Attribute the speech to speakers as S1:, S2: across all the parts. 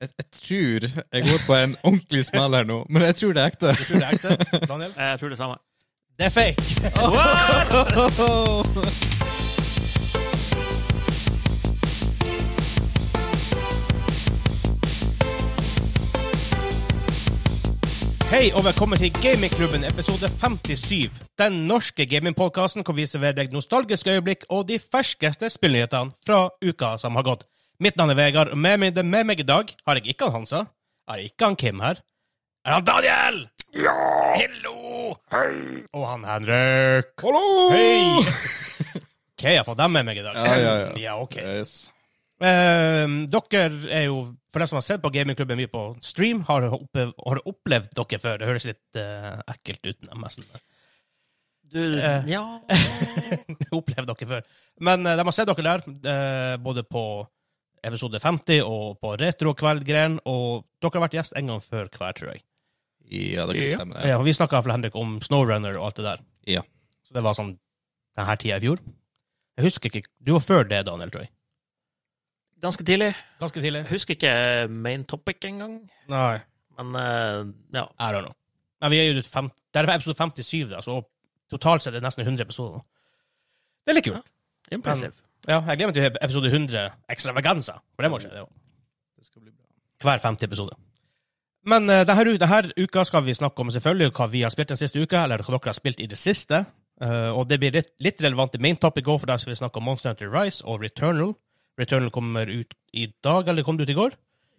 S1: Jeg, jeg tror jeg går på en ordentlig smell her nå, men jeg tror det er ekte.
S2: Tror du det er ekte, Daniel?
S3: Jeg tror det samme.
S2: Det er fake! Hei og velkommen til Gamingklubben episode 57. Den norske gamingpodkasten hvor vi serverer deg nostalgiske øyeblikk og de ferskeste spillnyhetene fra uka som har gått. Mitt navn er Vegard, og med meg, med meg i dag har jeg ikke han Hansa. Har jeg ikke han Kim her. Er han Daniel? Ja! Hello! Hei! Og han Henrik.
S1: Hallo!
S2: Hei! OK, jeg har fått dem med meg i dag.
S1: Ja, ja, ja.
S2: ok.
S1: Yes.
S2: Eh, dere er jo, for dem som har sett på gamingklubben mye på stream, har, oppe, har opplevd dere før. Det høres litt eh, ekkelt ut, nesten.
S3: Du,
S2: Eh.
S3: ja
S2: opplevd dere før. Men eh, de har sett dere der, eh, både på episode 50 og på retrokveldgren, og dere har vært gjest en gang før hver, tror jeg.
S1: Ja, det kan stemme. det.
S2: Ja, for vi snakka for Henrik om Snowrunner og alt det der.
S1: Ja.
S2: Så det var sånn denne tida i fjor. Jeg husker ikke Du var før det, Daniel, tror jeg.
S3: ganske tidlig.
S2: Ganske tidlig.
S3: Jeg husker ikke main topic engang,
S2: Nei.
S3: men eh, ja.
S2: I don't know. Men vi er jo ut fem, det er episode 57, da, så totalt sett er det nesten 100 episoder. Det er litt kult.
S3: Impressive.
S2: Ja, jeg gleder meg til episode 100 ekstravaganza. For det må skje, det òg.
S1: Det skal bli bra.
S2: Hver femte episode. Men eh, denne, u- denne uka skal vi snakke om selvfølgelig hva vi har spilt den siste uka, eller hva dere har spilt i det siste. Eh, og det blir litt, litt relevant til main topic òg, for der skal vi snakke om Monster Hunter Rise og Returnal. Returnal kommer ut i dag, eller kom det ut i går?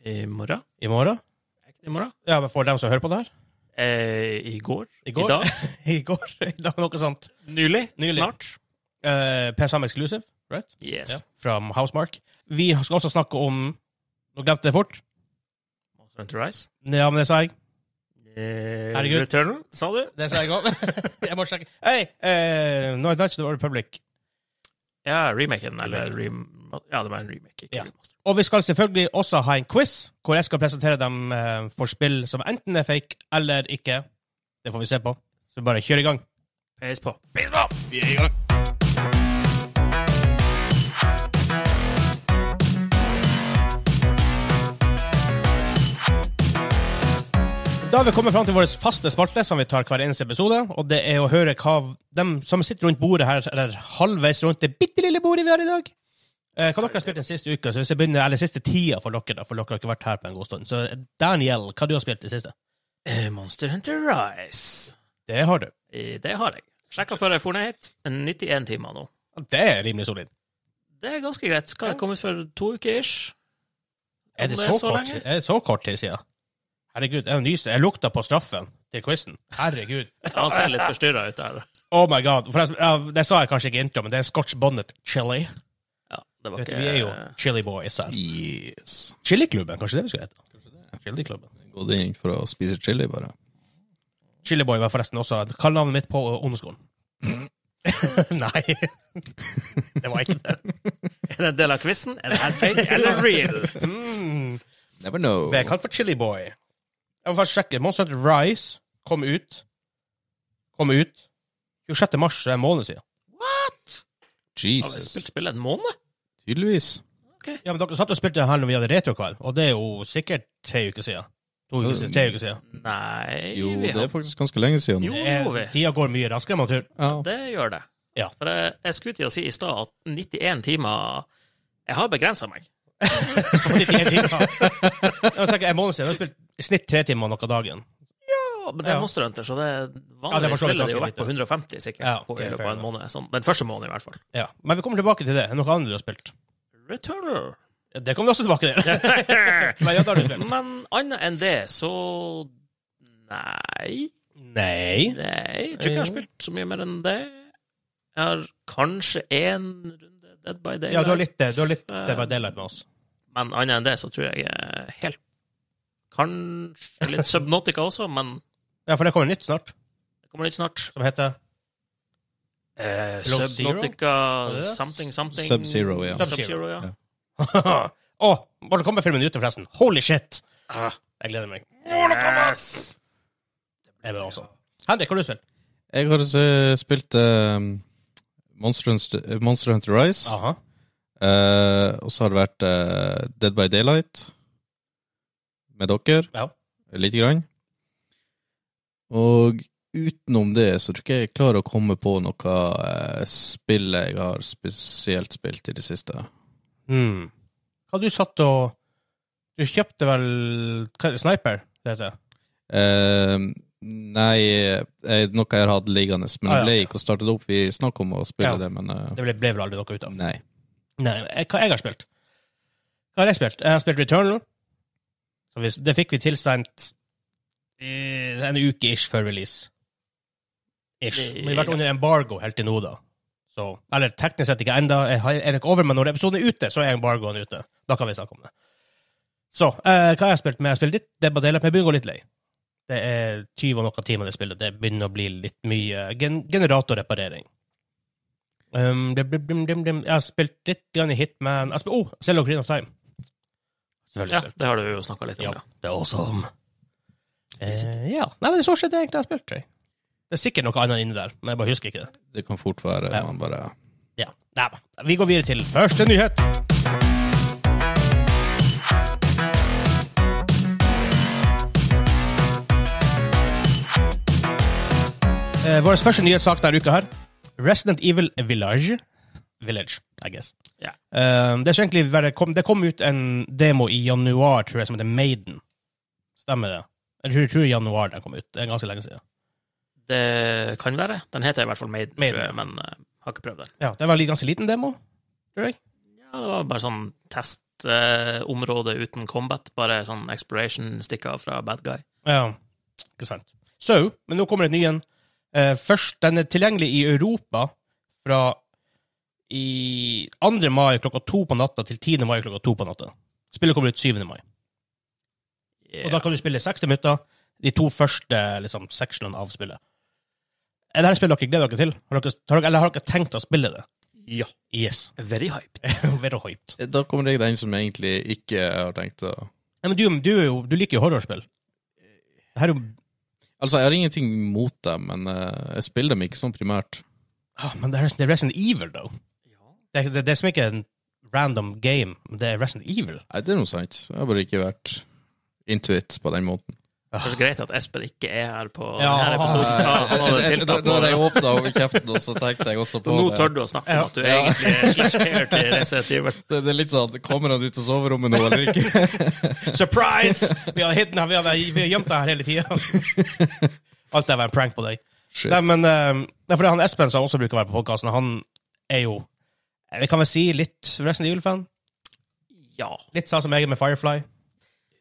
S3: I morgen?
S2: I morgen?
S3: I morgen?
S2: Ja, men for dem som hører på det her.
S3: Eh, I går?
S2: I går?
S3: I dag?
S2: I går. I dag, noe sånt.
S3: Nylig?
S2: Nylig.
S3: Snart?
S2: Eh, PSM Exclusive, right?
S3: Yes.
S2: Ja. Fra Housemark. Vi skal også snakke om Nå glemte jeg det fort.
S3: Monster Hunter Rise.
S2: Ja, men det sa jeg.
S3: Eh,
S2: Herregud.
S3: Returnal, sa du?
S2: Det sa jeg òg. jeg må sjekke. Hei! Uh, Night Nights of the Old Republic.
S3: Ja, remaken. Eller rem... Ja, det var en remake. Ikke
S2: Ja.
S3: remaster.
S2: Og vi skal selvfølgelig også ha en quiz, hvor jeg skal presentere dem eh, for spill som enten er fake eller ikke. Det får vi se på. Så bare kjør i gang.
S3: Peis på.
S1: Vi er i gang.
S2: Da har vi kommet fram til vår faste spalte, som vi tar hver eneste episode. Og det er å høre hva de som sitter rundt bordet her, eller halvveis rundt det bitte lille bordet vi har i dag eh, Hva dere har spilt den siste uka, så hvis jeg begynner, eller siste tida for dere, da, for dere har ikke vært her på en god stund. Så Daniel, hva du har spilt det siste?
S3: Eh, Monster Hunter Rise.
S2: Det har du.
S3: Eh, Det har jeg. Sjekka før jeg for ned hit. 91 timer nå.
S2: Det er rimelig solid.
S3: Det er ganske greit. Hva har jeg kommet for to uker ish?
S2: Er det
S3: Om
S2: så, kort,
S3: lenge?
S2: er det så kort tid siden? Herregud, jeg nyser. Jeg lukta på straffen til quizen. Herregud.
S3: Ja, Han ser litt forstyrra ut der.
S2: Oh my god. Forresten, ja, det sa jeg kanskje ikke i intro, men det er en scotch bonnet chili.
S3: Ja, det var
S2: Vet du,
S3: ikke
S2: vi er jo chili boys her.
S1: Yes.
S2: Chiliklubben, kanskje det vi skulle hete? Chiliklubben.
S1: Gått inn for å spise chili, bare.
S2: Chiliboy var forresten også kallenavnet mitt på ungdomsskolen. Mm. Nei. det var ikke det.
S3: Er det en del av quizen? Er det her fake eller real?
S2: Mm.
S1: Never know.
S2: Ble jeg kalt for Chiliboy? Jeg må faktisk sjekke. Monster Hunter Rise kom ut. Kom ut 26. mars, så det er en måned siden.
S3: What? Har vi
S1: Jesus.
S3: spilt spill en måned?
S1: Tydeligvis.
S2: Ja, men dere satt og spilte her når vi hadde retrokveld, og det er jo sikkert tre uker siden. To uker siden, tre uker siden.
S3: Nei
S1: Jo, det
S3: vi har-
S1: er faktisk ganske lenge siden.
S3: Jo,
S2: Det er-
S3: vi.
S2: Tida går mye raskere enn man tror.
S1: Ja.
S3: Det gjør det.
S2: Ja.
S3: For jeg, jeg skulle til å si i stad at 91 timer Jeg har begrensa meg.
S2: Jeg tenker, en måned siden, vi har spilt i snitt tre timer noe av dagen.
S3: Ja, men det
S2: Ja.
S3: er Monster Hunter, så det
S2: Ja, det er for
S3: vanligvis
S2: så vidt
S3: ville det jo
S2: ganske
S3: vært på 150 sikkert
S2: Ja,
S3: på,
S2: ok,
S3: i løpet
S2: fair
S3: av en måned. Sånn, den første måneden, i hvert fall.
S2: Ja. Men vi kommer tilbake til det. Er det Noe annet du har spilt?
S3: Returner.
S2: Ja, Det kommer vi også tilbake til. Men ja, da har du spilt.
S3: men annet enn det, så Nei.
S2: Nei.
S3: Nei, jeg tror ikke jeg har spilt så mye mer enn det. Jeg har kanskje én runde Dead by Daylight. eh,
S2: Ja, du har litt, du har litt det var daylight med oss.
S3: Men annet enn det så tror jeg jeg er helt Kanskje litt Subnotica også, men
S2: Ja, for det kommer nytt snart,
S3: det kommer litt snart.
S2: som heter
S3: Eh,
S2: Below Zero?
S3: Subnotica
S2: det det?
S3: something something
S1: Sub-Zero, ja.
S3: Sub-Zero, ja.
S1: Ja.
S2: Å, bare kommer filmen ute, forresten. Holy shit!
S3: Ah,
S2: Jeg gleder meg.
S3: yes.
S2: Jeg vil også. Henrik, hva har du spilt?
S1: Jeg har eh, spilt eh, Monster, Hunter, eh, Monster Hunter Rise.
S2: Aha.
S1: Eh, og så har det vært eh, Dead by Daylight. med dere,
S2: Ja.
S1: lite grann. Og utenom det så tror jeg ikke jeg klarer å komme på noe eh, spill jeg har spesielt spilt i det siste.
S2: Hmm. Hva du satt og Du kjøpte vel hva er det, Sniper? Det heter.
S1: Eh, nei, eh, noe jeg har hatt liggende, men
S2: Ah,
S1: jeg
S2: ja.
S1: ble ikke å starte det opp. Vi snakket om å spille
S2: Ja.
S1: det, men eh,
S2: Det ble, ble vel aldri noe ut av?
S1: nei.
S2: Nei, jeg- hva jeg har spilt? Hva har jeg spilt? Jeg har spilt Returnal. Så hvis, det fikk vi tilsendt eh, en uke ish før release. Ish. Men vi har vært under embargo helt til nå, da. Så, eller teknisk sett ikke enda, jeg har- er det ikke over, men når episoden er ute, så er embargoen ute. Da kan vi snakke om det. Så, eh, hva har jeg spilt med? Jeg har spilt litt Debadelup, jeg begynner å gå litt lei. Det er 20 og noen timer det spillet, det begynner å bli litt mye gen generatorreparering. Um, dim, dim, dim, dim, dim. Jeg har spilt litt grann i Hitman. Jeg spil, oh, Zelda Ocarina of Time.
S3: Ja,
S2: Selvfølgelig.
S3: det har du jo snakka litt
S2: Ja,
S3: om, ja.
S2: det er awesome. Eh, ja. Nei, men det er stort sett det egentlig jeg har spilt. tror jeg. Det er sikkert noe annet inni der, men jeg bare husker ikke det.
S1: Det kan fort være
S2: Ja.
S1: man bare
S2: Ja. Nei, men vi går videre til første nyhet. Eh, vår første nyhetssak denne uka her. Resident Evil Village. Village, I guess.
S3: Ja.
S2: Eh, det, skal egentlig være, kom, det kom ut en demo i januar, tror jeg, som heter Maiden. Stemmer det? Jeg tror, tror januar den kom ut. Det er ganske lenge siden.
S3: Det kan være. Den heter i hvert fall Maiden,
S2: Maiden,
S3: tror jeg,
S2: ja.
S3: men eh, har ikke prøvd den.
S2: Ja, det var en ganske liten demo, tror jeg.
S3: Ja, det var bare sånn testområde eh, område uten combat, bare sånn exploration stikka fra bad guy.
S2: Ja, ikke sant. Så, men nå kommer det en ny en. Eh, først, den er tilgjengelig i Europa fra i 2. mai klokka to på natta til 10. mai klokka to på natta. Spillet kommer ut 7. mai. Og da
S3: Yeah.
S2: kan du spille 60 minutter, de to første liksom, sectionene av spillet. Er dette spillet dere gleder dere til? Har dere, har dere, eller har dere tenkt å spille det?
S3: Ja.
S2: Yes.
S3: Very hyped.
S2: Very hyped.
S1: Da kommer jeg den som jeg egentlig ikke har tenkt å
S2: Nei, men du, du, er jo, du liker jo horrorspill. Det her er jo
S1: Altså, jeg har ingenting mot dem, men eh, jeg spiller dem ikke sånn primært.
S2: ah, Men det er det er Resident Evil, though.
S3: Ja.
S2: Det, er- det, det er som ikke en random game, men det er Resident Evil.
S1: Nei, det er noe sant. Jeg har bare ikke vært intuit på den måten.
S3: Kanskje greit at Espen ikke er her på
S2: Ja,
S3: denne episoden. Ja, han hadde tiltak på
S1: Da
S3: det.
S1: jeg åpna over kjeften, og så tenkte jeg også på
S3: Nå
S1: det.
S3: tør
S2: altså.
S3: du å snakke om at du egentlig er slash care til Resident Evil.
S1: Det, det er litt sånn Kommer han ut av soverommet nå, eller ikke?
S2: Surprise! Vi har hidden her, vi har, vi har gjemt deg her hele tida. Alt det var en prank på deg.
S1: Shit.
S2: Nei, men eh, det er fordi han Espen, som også bruker å være på podkasten, han er jo eh, Vi kan vel si litt Resident Evil-fan?
S3: Ja.
S2: Litt sånn som jeg er med Firefly,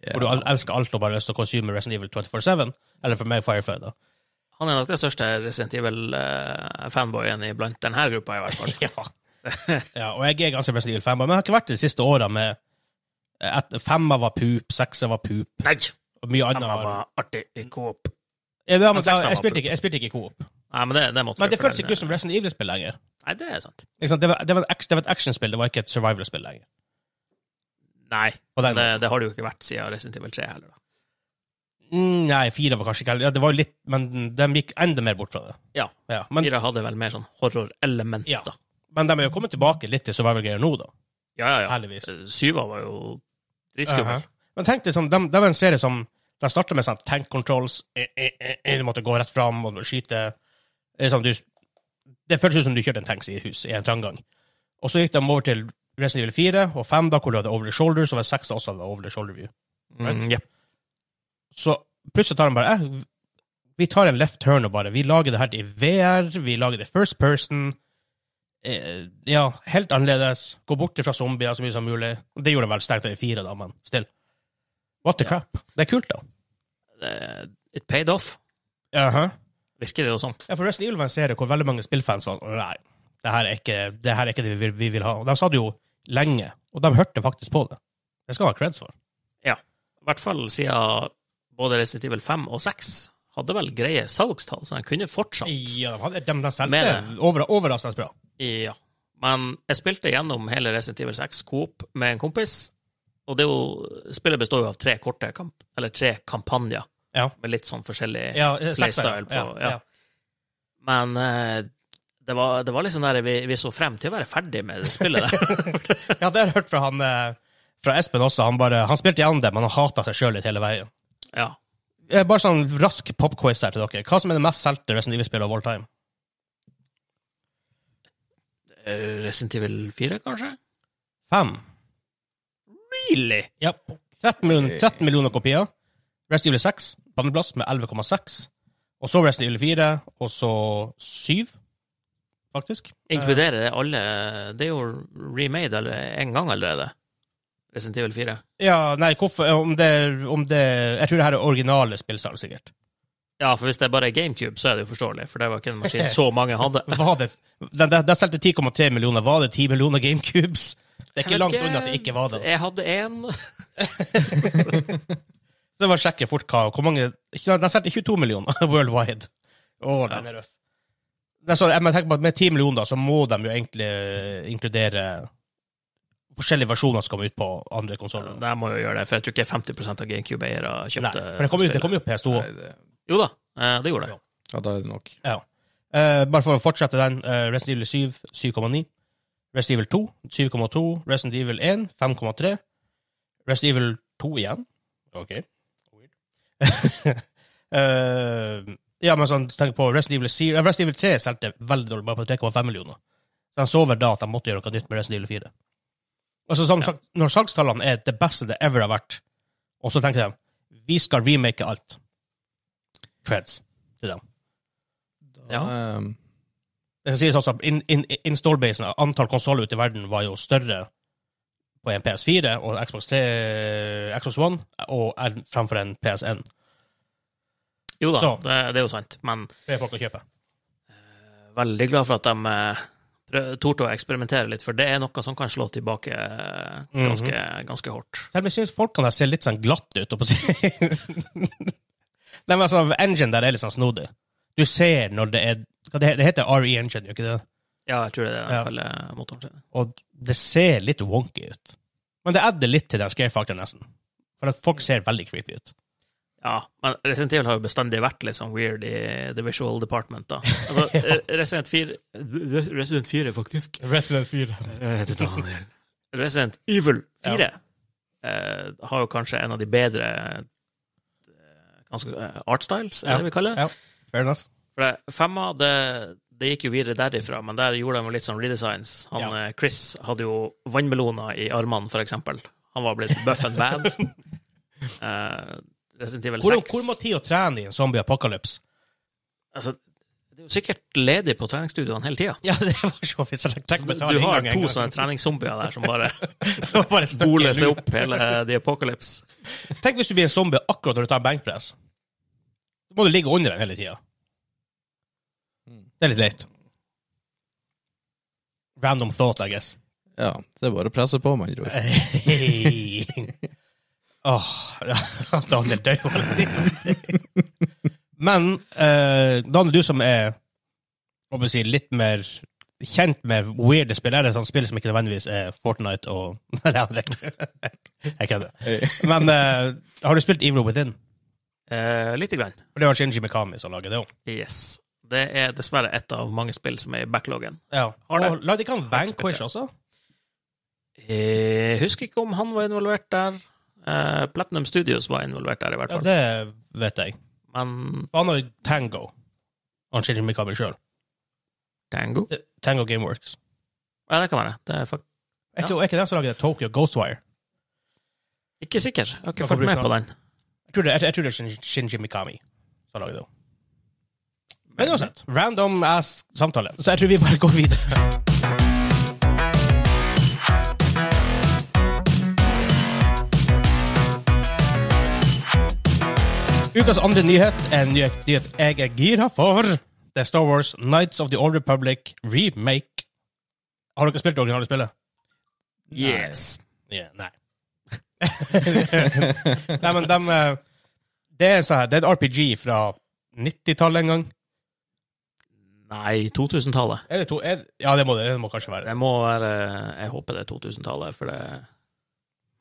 S2: hvor du
S1: Ja.
S2: al- elsker alt og bare har lyst til å consume Resident Evil 24-7. Eller for meg, Firefly, da.
S3: Han er nok den største Resident Evil-fanboyen iblant denne gruppa, i hvert fall.
S2: Ja. ja, og jeg er ganske Resident Evil-fan, men jeg har ikke vært det de siste åra med eh, at femma var pup, seksa var pup,
S3: Nei!
S2: og mye
S3: Han
S2: annet. var-
S3: var artig i Coop.
S2: Ja, men,
S3: Men
S2: da,
S3: seksa var
S2: jeg, spilte
S3: pup.
S2: ikke, jeg spilte ikke i Coop.
S3: Nei, men det, det måtte
S2: Men
S3: vi
S2: det
S3: for
S2: føltes
S3: den-
S2: ikke ut som Resident Evil-spill lenger.
S3: Nei, det er sant.
S2: Ikke sant? Det, var, det, var en action, det var et actionspill, det var ikke et survival-spill lenger.
S3: Nei,
S2: På den
S3: det, det har det jo ikke vært siden Resident Evil 3 heller, da.
S2: Mm, nei, fire var kanskje ikke heller. Ja, det var jo litt, men de gikk enda mer bort fra det.
S3: Ja.
S2: Ja, men,
S3: Fire hadde vel mer sånn horrorelement,
S2: Ja.
S3: da.
S2: men de er jo kommet tilbake litt til survival-greier nå, da.
S3: Ja, ja, ja.
S2: Heldigvis.
S3: Eh, Syva var jo dritskummel.
S2: Aha. Men tenk deg sånn, de, de er en serie som De starter med sånn tank controls, eh, eh, eh, eh, du måtte gå rett fram og skyte Det er sånn, du, Det føles ut som du kjørte en tanks i hus i en trang Og så gikk de over til Resident Evil 4 og 5, da, hvor du hadde over the shoulder, så var 6 også hadde over the shoulder view.
S3: Mm, ja.
S2: Så plutselig tar han bare eh, Vi tar en left turn og bare Vi lager det her til VR, vi lager det first person. Eh, ja, helt annerledes. Gå bort fra zombier så mye som mulig. Det gjorde han vel sterkt i fire, da, men still. What the
S3: Ja.
S2: crap? Det er kult, da.
S3: Det- It paid off, virker det jo sånn. som.
S2: Ja, for Resident Evil var en serie hvor veldig mange spillfans var sånn, Nei, det her er ikke det, her er ikke det vi, vil, vi vil ha. Og de sa det jo lenge, og de hørte faktisk på det. Det skal de ha creds for.
S3: I hvert fall siden både Resident Evil 5 og 6 hadde vel greie salgstall, så den kunne fortsatt.
S2: Ja, de, hadde, de, de
S3: Mener
S2: selgte eh, over, overraskende bra.
S3: Ja. Men jeg spilte gjennom hele Resident Evil 6 Coop med en kompis, og det er jo, spillet består jo av tre korte kamp, eller tre kampanjer,
S2: Ja.
S3: med litt sånn forskjellig
S2: Ja, eh, sekser,
S3: Playstyle på-
S2: ja,
S3: ja.
S2: ja.
S3: Men eh, det var, sånn det var liksom der vi, vi så frem til å være ferdig med det spillet der.
S2: Ja, det har jeg hørt fra han eh, fra Espen også. Han, bare, han spilte gjennom det, men han hata seg sjøl litt hele veien.
S3: Ja.
S2: Eh, Bare sånn rask popquiz her til dere. Hva som er det mest solgte Resident Evil-spillet of all time?
S3: Eh, Resident Evil 4, kanskje?
S2: Fem. Really? Ja. 13 millioner, 13 millioner kopier. Resident Evil 6 på andreplass med 11,6. Og så Resident Evil 4, og så 7, faktisk.
S3: Inkluderer det alle Det er jo remade alle, en gang allerede. Resident Evil 4.
S2: Eh, Ja, nei, hvorfor Om det, om det Jeg tror det her er originale spillsalg, sikkert.
S3: Ja, for hvis det bare er GameCube, så er det jo forståelig, for det var ikke en maskin så mange hadde.
S2: Var det Den, den, den solgte 10,3 millioner. Var det 10 millioner GameCubes? Det er ikke
S3: Jeg vet
S2: langt unna at det ikke var det. altså.
S3: Jeg hadde én.
S2: Så det var å sjekke fort hva Hvor mange ikke- Den solgte 22 millioner worldwide. Å, den er røff. Nei, så jeg må tenke på at Med 10 millioner da, så må de jo egentlig eh, inkludere forskjellige versjoner som kommer ut på andre konsoller.
S3: Jeg må jo gjøre det, for jeg tror ikke 50 av GameCube-eiere
S2: Nei,
S3: kjøpte
S2: for det kom jo, det kom jo PS2 også.
S1: Nei, det,
S3: spillet. Jo da, eh, det gjorde det.
S1: ja, da er det nok.
S2: Ja. Eh, bare for å fortsette den. eh, Resident Evil 7, 7,9. Resident Evil 2, 7,2. Resident Evil 1, 5,3. Resident Evil 2 igjen. Ok. Eh, ja, men sånn, tenk på Resident Evil 4. eh, Resident Evil 3 solgte veldig dårlig, bare på 3,5 millioner. Så de så vel da at de måtte gjøre noe nytt med Resident Evil 4. Altså, som
S3: Ja.
S2: sagt, når salgstallene er det beste det ever har vært, og så tenker de vi skal remake alt. Creds til dem.
S3: Ja.
S1: Ehm,
S2: Det skal sies også at in, in, installbasen, antall konsoller ute i verden, var jo større på en PS4 og Xbox, 3, Xbox One og en- fremfor en PSN.
S3: Jo da,
S2: Så.
S3: det, det er jo sant, men
S2: Det er folk å kjøpe.
S3: veldig glad for at de eh, prøv- torde å eksperimentere litt, for det er noe som kan slå tilbake eh,
S2: Mhm.
S3: ganske, ganske hardt.
S2: Selv om jeg synes folk kan se litt sånn glatt ut, oppå si. Nei, men altså, engine der er litt sånn snodig. Du ser når det er hva Det he- det heter RE Engine, gjør ikke det?
S3: Ja, jeg tror det er det de
S2: Ja.
S3: kaller motoren sin.
S2: Og det ser litt wonky ut. Men det adder litt til den scare-faktoren, nesten. For at folk ser veldig creepy ut.
S3: Ja, men Resident Evil har jo bestandig vært litt sånn weird i the visual department, da. Altså, eh, Resident 4 Resident 4, faktisk.
S2: Resident 4.
S3: Resident Evil 4 eh, har jo kanskje en av de bedre eh, ganske, eh, art styles, er
S2: Ja.
S3: det vi kaller det.
S2: Ja, fair enough.
S3: For det, femma, det, det gikk jo videre derifra, men der gjorde de jo litt sånn redesigns. Han,
S2: Ja.
S3: eh, Chris hadde jo vannmeloner i armene, for eksempel. Han var blitt buff and bad. Eh, Resident Evil 6
S2: Hvor, hvor må tid å trene i en zombie apocalypse?
S3: altså, det er jo sikkert ledig på treningsstudioene hele tida.
S2: Ja, det var så vidt så langt.
S3: Du, altså, du har
S2: altså.
S3: to sånne treningszombier der som bare
S2: Bare støkker
S3: boler
S2: i
S3: seg opp hele The Apocalypse.
S2: lur. Tenk hvis du blir en zombie akkurat når du tar benkpress. Da må du ligge under den hele tida. Det er litt leit. Random thought, I guess.
S1: ja, det er bare å presse på, med andre ord.
S2: Hey. Åh, Daniel dør jo veldig. Men eh, Daniel, du som er hva må jeg si, litt mer kjent med weirde spill, er det sånn spill som ikke nødvendigvis er Fortnite og Nei, det er det ikke. Jeg kødder.
S1: Hey.
S2: Men eh, har du spilt Evil Within?
S3: Eh, lite grann.
S2: For det var Shinji Mikami som laget det òg.
S3: Yes. Det er dessverre et av mange spill som er i backloggen.
S2: Ja.
S3: Har det.
S2: Og lagde ikke han Vanquish også?
S3: Jeg Eh, husker ikke om han var involvert der. Eh, Platinum Studios var involvert der, i hvert
S2: Ja,
S3: fall.
S2: det vet jeg.
S3: Men
S2: For han har jo Tango, han Shinji Mikami sjøl.
S3: Tango
S2: Tango Gameworks.
S3: Ja, det kan være. Det er fakt
S2: Er ikke, er ikke den som lager Tokyo Ghostwire?
S3: ikke sikker. Jeg har
S2: Da
S3: ikke
S2: får du
S3: fulgt med
S2: snart.
S3: på den.
S2: Jeg tror det, jeg, jeg tror det er Shin- Shinji Mikami som lager det. Men uansett, random ass samtale. Så jeg tror vi bare går videre. Ukas andre nyhet er en nyhet, nyhet jeg er gira for. Det er Star Wars Nights of the Old Republic remake. Har dere spilt det originale spillet?
S3: Yes.
S2: Ja, nei. nei, men dem, eh, Det er sånn her, det er et RPG fra 90-tallet en gang.
S3: Nei, 2000-tallet.
S2: Er det to? Er, ja, det må det, det må kanskje være det.
S3: Det må være Jeg håper det er 2000-tallet, for det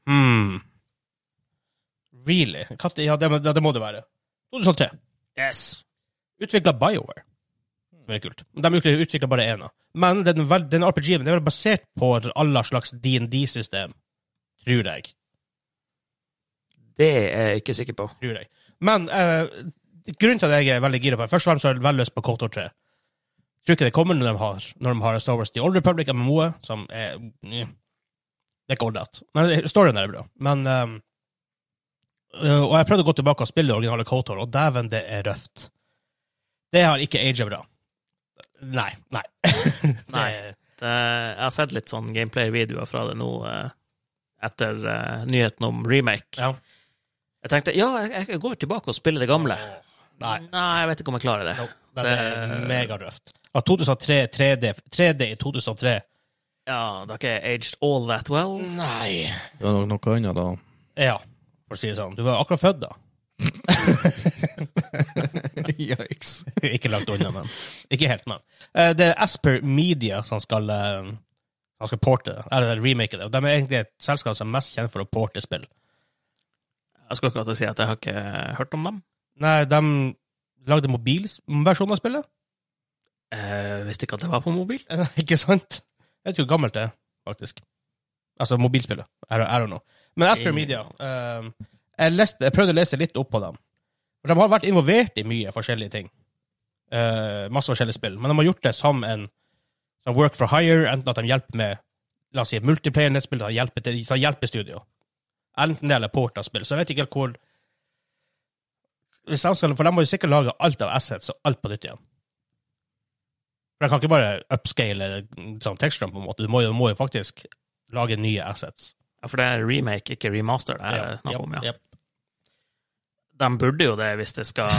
S2: Hmm. Really? Katte, ja, det, må- ja, det må det være. 2003.
S3: Yes!
S2: Utvikla BioWare. Hmm. Det er kult. De utvikla bare én. Men den, vel- den RPG-en det er vel basert på alle slags D&D-system, Tror jeg.
S3: Det er jeg ikke sikker på.
S2: Tror jeg. Men eh, grunnen til at jeg er veldig gira på det Først og fremst har jeg veldig lyst på KTOR 3. Tror ikke det kommer når de har, når de har Star Wars The Old Republic, MMO-et, som er mm, Det er ikke ordentlig. Men eh, storyen der er bra. Men eh, eh, Og jeg prøvde å gå tilbake og spille det originale KTOR, og dæven, det er røft. Det har ikke aga bra. Nei. Nei.
S3: Nei. Det, jeg har sett litt sånn gameplay-videoer fra det nå eh, etter eh, nyheten om remake.
S2: Ja.
S3: Jeg tenkte ja, jeg, jeg går tilbake og spiller det gamle.
S2: Nei.
S3: jeg vet ikke om jeg klarer det.
S2: No, det er megarøft. Av 2003, 3D, 3D i 2003
S3: Ja, Det har ikke aged all that well.
S2: Nei.
S1: Det var nok noe annet da.
S2: Ja, for å si det sånn. Du var akkurat født da.
S1: Yikes.
S2: ikke langt unna, men Ikke helt, men. Eh, Det er Asper Media som skal, eh, som skal porte det, eller remake det. Og de er egentlig et selskap som er mest kjent for å porte spill.
S3: Jeg skulle akkurat si at jeg har ikke hørt om dem.
S2: Nei, de lagde mobilversjon av spillet.
S3: Eh, visste ikke at det var på mobil.
S2: Eh, Ikke sant? Jeg vet ikke hvor gammelt det er, faktisk. Altså mobilspillet. I don't, I don't know. Men Asper
S3: Ingen-
S2: Media eh, jeg, leste, jeg prøvde å lese litt opp på dem. For de har vært involvert i mye forskjellige ting. Eh, masse forskjellige spill. Men de har gjort det som en som work for hire, enten at de hjelper med la oss si, multiplayer-nettspill, de hjelper, til, de hjelper studio. Enten det eller port av spill. Så jeg vet ikke helt hvor Hvis de skal- For de må jo sikkert lage alt av assets og alt på nytt igjen. For jeg kan ikke bare upscale mm, sånn tekstene på en måte. Du må jo, må jo faktisk lage nye assets.
S3: Ja, For det er remake, ikke remaster. det er
S2: Ja,
S3: snakk om,
S2: ja.
S3: ja. De burde jo det hvis det skal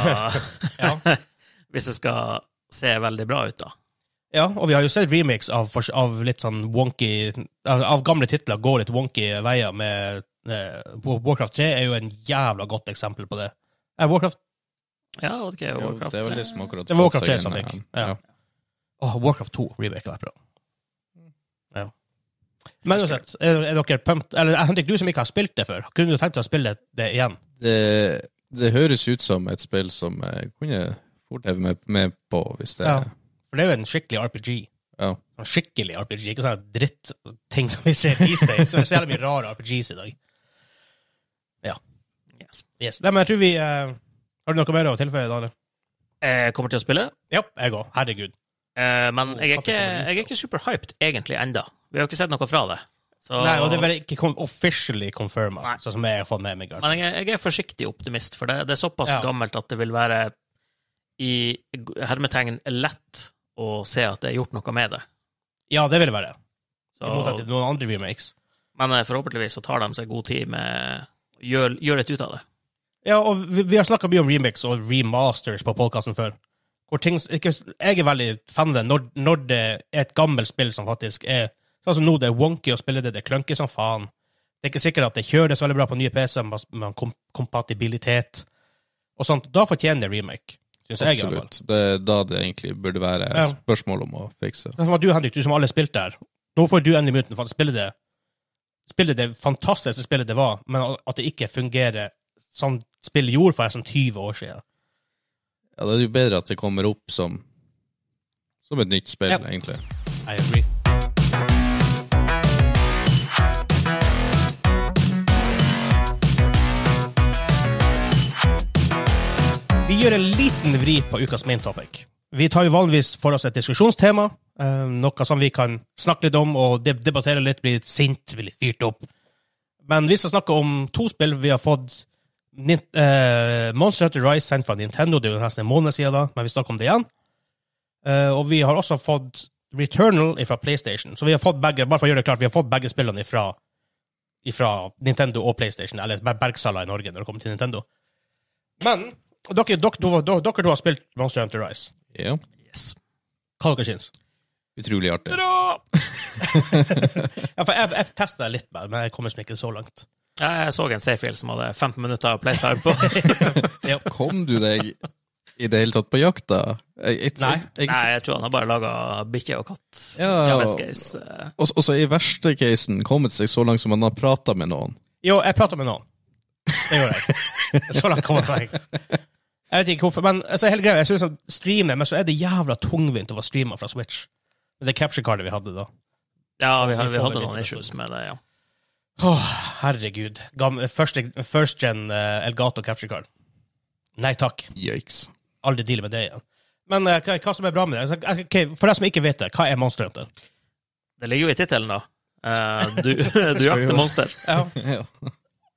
S2: Ja.
S3: Hvis det skal se veldig bra ut, da.
S2: Ja, og vi har jo sett remakes av, fors- av litt sånn wonky Av, av gamle titler går litt wonky veier med eh, Warcraft 3 er jo en jævla godt eksempel på det. Eh, Warcraft,
S3: Ja, ok,
S1: Jo,
S3: Warcraft.
S1: det er vel det som akkurat
S2: Det var akkurat
S1: fått seg
S2: det som
S1: en,
S2: fikk,
S1: eh,
S2: ja. Åh, Warcraft 2 remake har vært bra.
S3: Mm.
S2: Ja. Men uansett, er, er dere pumped? Eller Henrik, du som ikke har spilt det før, kunne du tenkt deg å spille det igjen?
S1: Det, det høres ut som et spill som jeg kunne fort heve med, med på, hvis det
S2: Ja. For det er jo en skikkelig RPG.
S1: eh, Ja.
S2: Sånn skikkelig RPG, ikke sånn drittting som vi ser these days. Det er så jævlig mye rare RPGs i dag.
S3: Yes.
S2: Yes. Nei, men jeg tror vi eh, Har du noe mer å tilføye, Daniel?
S3: Jeg Eh, kommer til å spille,
S2: Ja, jeg òg. Herregud.
S3: eh, men jeg er ikke,
S2: Patrick,
S3: jeg er ikke superhyped egentlig enda. Vi har ikke sett noe fra det. Så,
S2: Nei, og det er vel ikke kon- officially confirma,
S3: Nei.
S2: sånn som jeg har fått med meg. i hvert fall.
S3: Men jeg, er- jeg er forsiktig optimist, for det, det er såpass
S2: Ja.
S3: gammelt at det vil være i hermetegn lett å se at det er gjort noe med det.
S2: Ja, det vil det være. I
S3: Så,
S2: motsetning til noen andre remakes.
S3: men eh, forhåpentligvis så tar de seg god tid med Gjør, gjør litt ut av det.
S2: Ja, og vi, vi har snakka mye om remix og remasters på podkasten før. Hvor ting, s- ikke, s- jeg er veldig fan av det når, når det er et gammelt spill som faktisk er Sånn som nå, det er wonky å spille det, det er clunky som faen. Det er ikke sikkert at det kjøres veldig bra på nye PC-er med- med kom, kompatibilitet og sånt. Da fortjener det remake, syns jeg. i hvert fall.
S1: Absolutt. Det er da det egentlig burde være
S2: Ja.
S1: spørsmål om å fikse.
S2: Sånn som at du, Henrik, du som alle spilte her. Nå får du endelig muligheten for å spille det Spille det fantastiske spillet det var, men at det ikke fungerer som spillet gjorde for sånn 20 år siden.
S1: Ja, det er jo bedre at det kommer opp som Som et nytt spill,
S2: Ja.
S1: egentlig.
S2: I agree. Vi gjør en liten vri på ukas main topic. Vi tar jo vanligvis for oss et diskusjonstema, eh, noe som vi kan snakke litt om og deb- debattere litt, bli litt sint, bli litt fyrt opp. Men vi skal snakke om to spill vi har fått Nin eh, Monster Hunter Rise sendt fra Nintendo, det er jo nesten en måned siden da, men vi snakker om det igjen. Eh, og vi har også fått Returnal fra PlayStation. Så vi har fått begge, bare for å gjøre det klart, vi har fått begge spillene fra Nintendo og PlayStation, eller ber- Bergsala i Norge når det kommer til Nintendo. Men dere, dere, to- dere, dere to har spilt Monster Hunter Rise.
S1: Ja.
S3: Yes.
S2: Hva dere syns
S1: Utrolig artig.
S3: Bra!
S2: Ja, for jeg, jeg testet det litt, bare, men jeg kommer liksom ikke så langt.
S3: Jeg så en Seyfield som hadde 15 minutter playtime på.
S1: Kom du deg i det hele tatt på jakta? Jeg, jeg,
S2: Nei.
S1: jeg,
S3: Nei, jeg tror han har bare laga bikkje og katt.
S1: Ja.
S3: I best case. eh,
S1: Og og så i verste casen kommet seg så langt som man har prata med noen.
S2: Jo, jeg prater med noen. Det gjør jeg. Så langt kommer jeg. Jeg vet ikke hvorfor, men altså, hele greia, jeg synes at streamer, men så er det jævla tungvint å være streamer fra Switch. Det capture-cardet vi hadde da.
S3: Ja, vi, har,
S2: Vi
S3: vi
S2: får
S3: hadde
S2: det
S3: noen
S2: litt
S3: issues med det, ja.
S2: Åh, herregud. Gamle, første, first gen eh, Elgato capture card. Nei takk.
S1: Yikes.
S2: Aldri deal med det igjen. Men eh, hva, hva som er bra med det? Altså, ok, for deg som ikke vet det, hva er Monster Hunter?
S3: Det ligger jo i tittelen, da. Eh, du du jakter monster.
S1: Ja.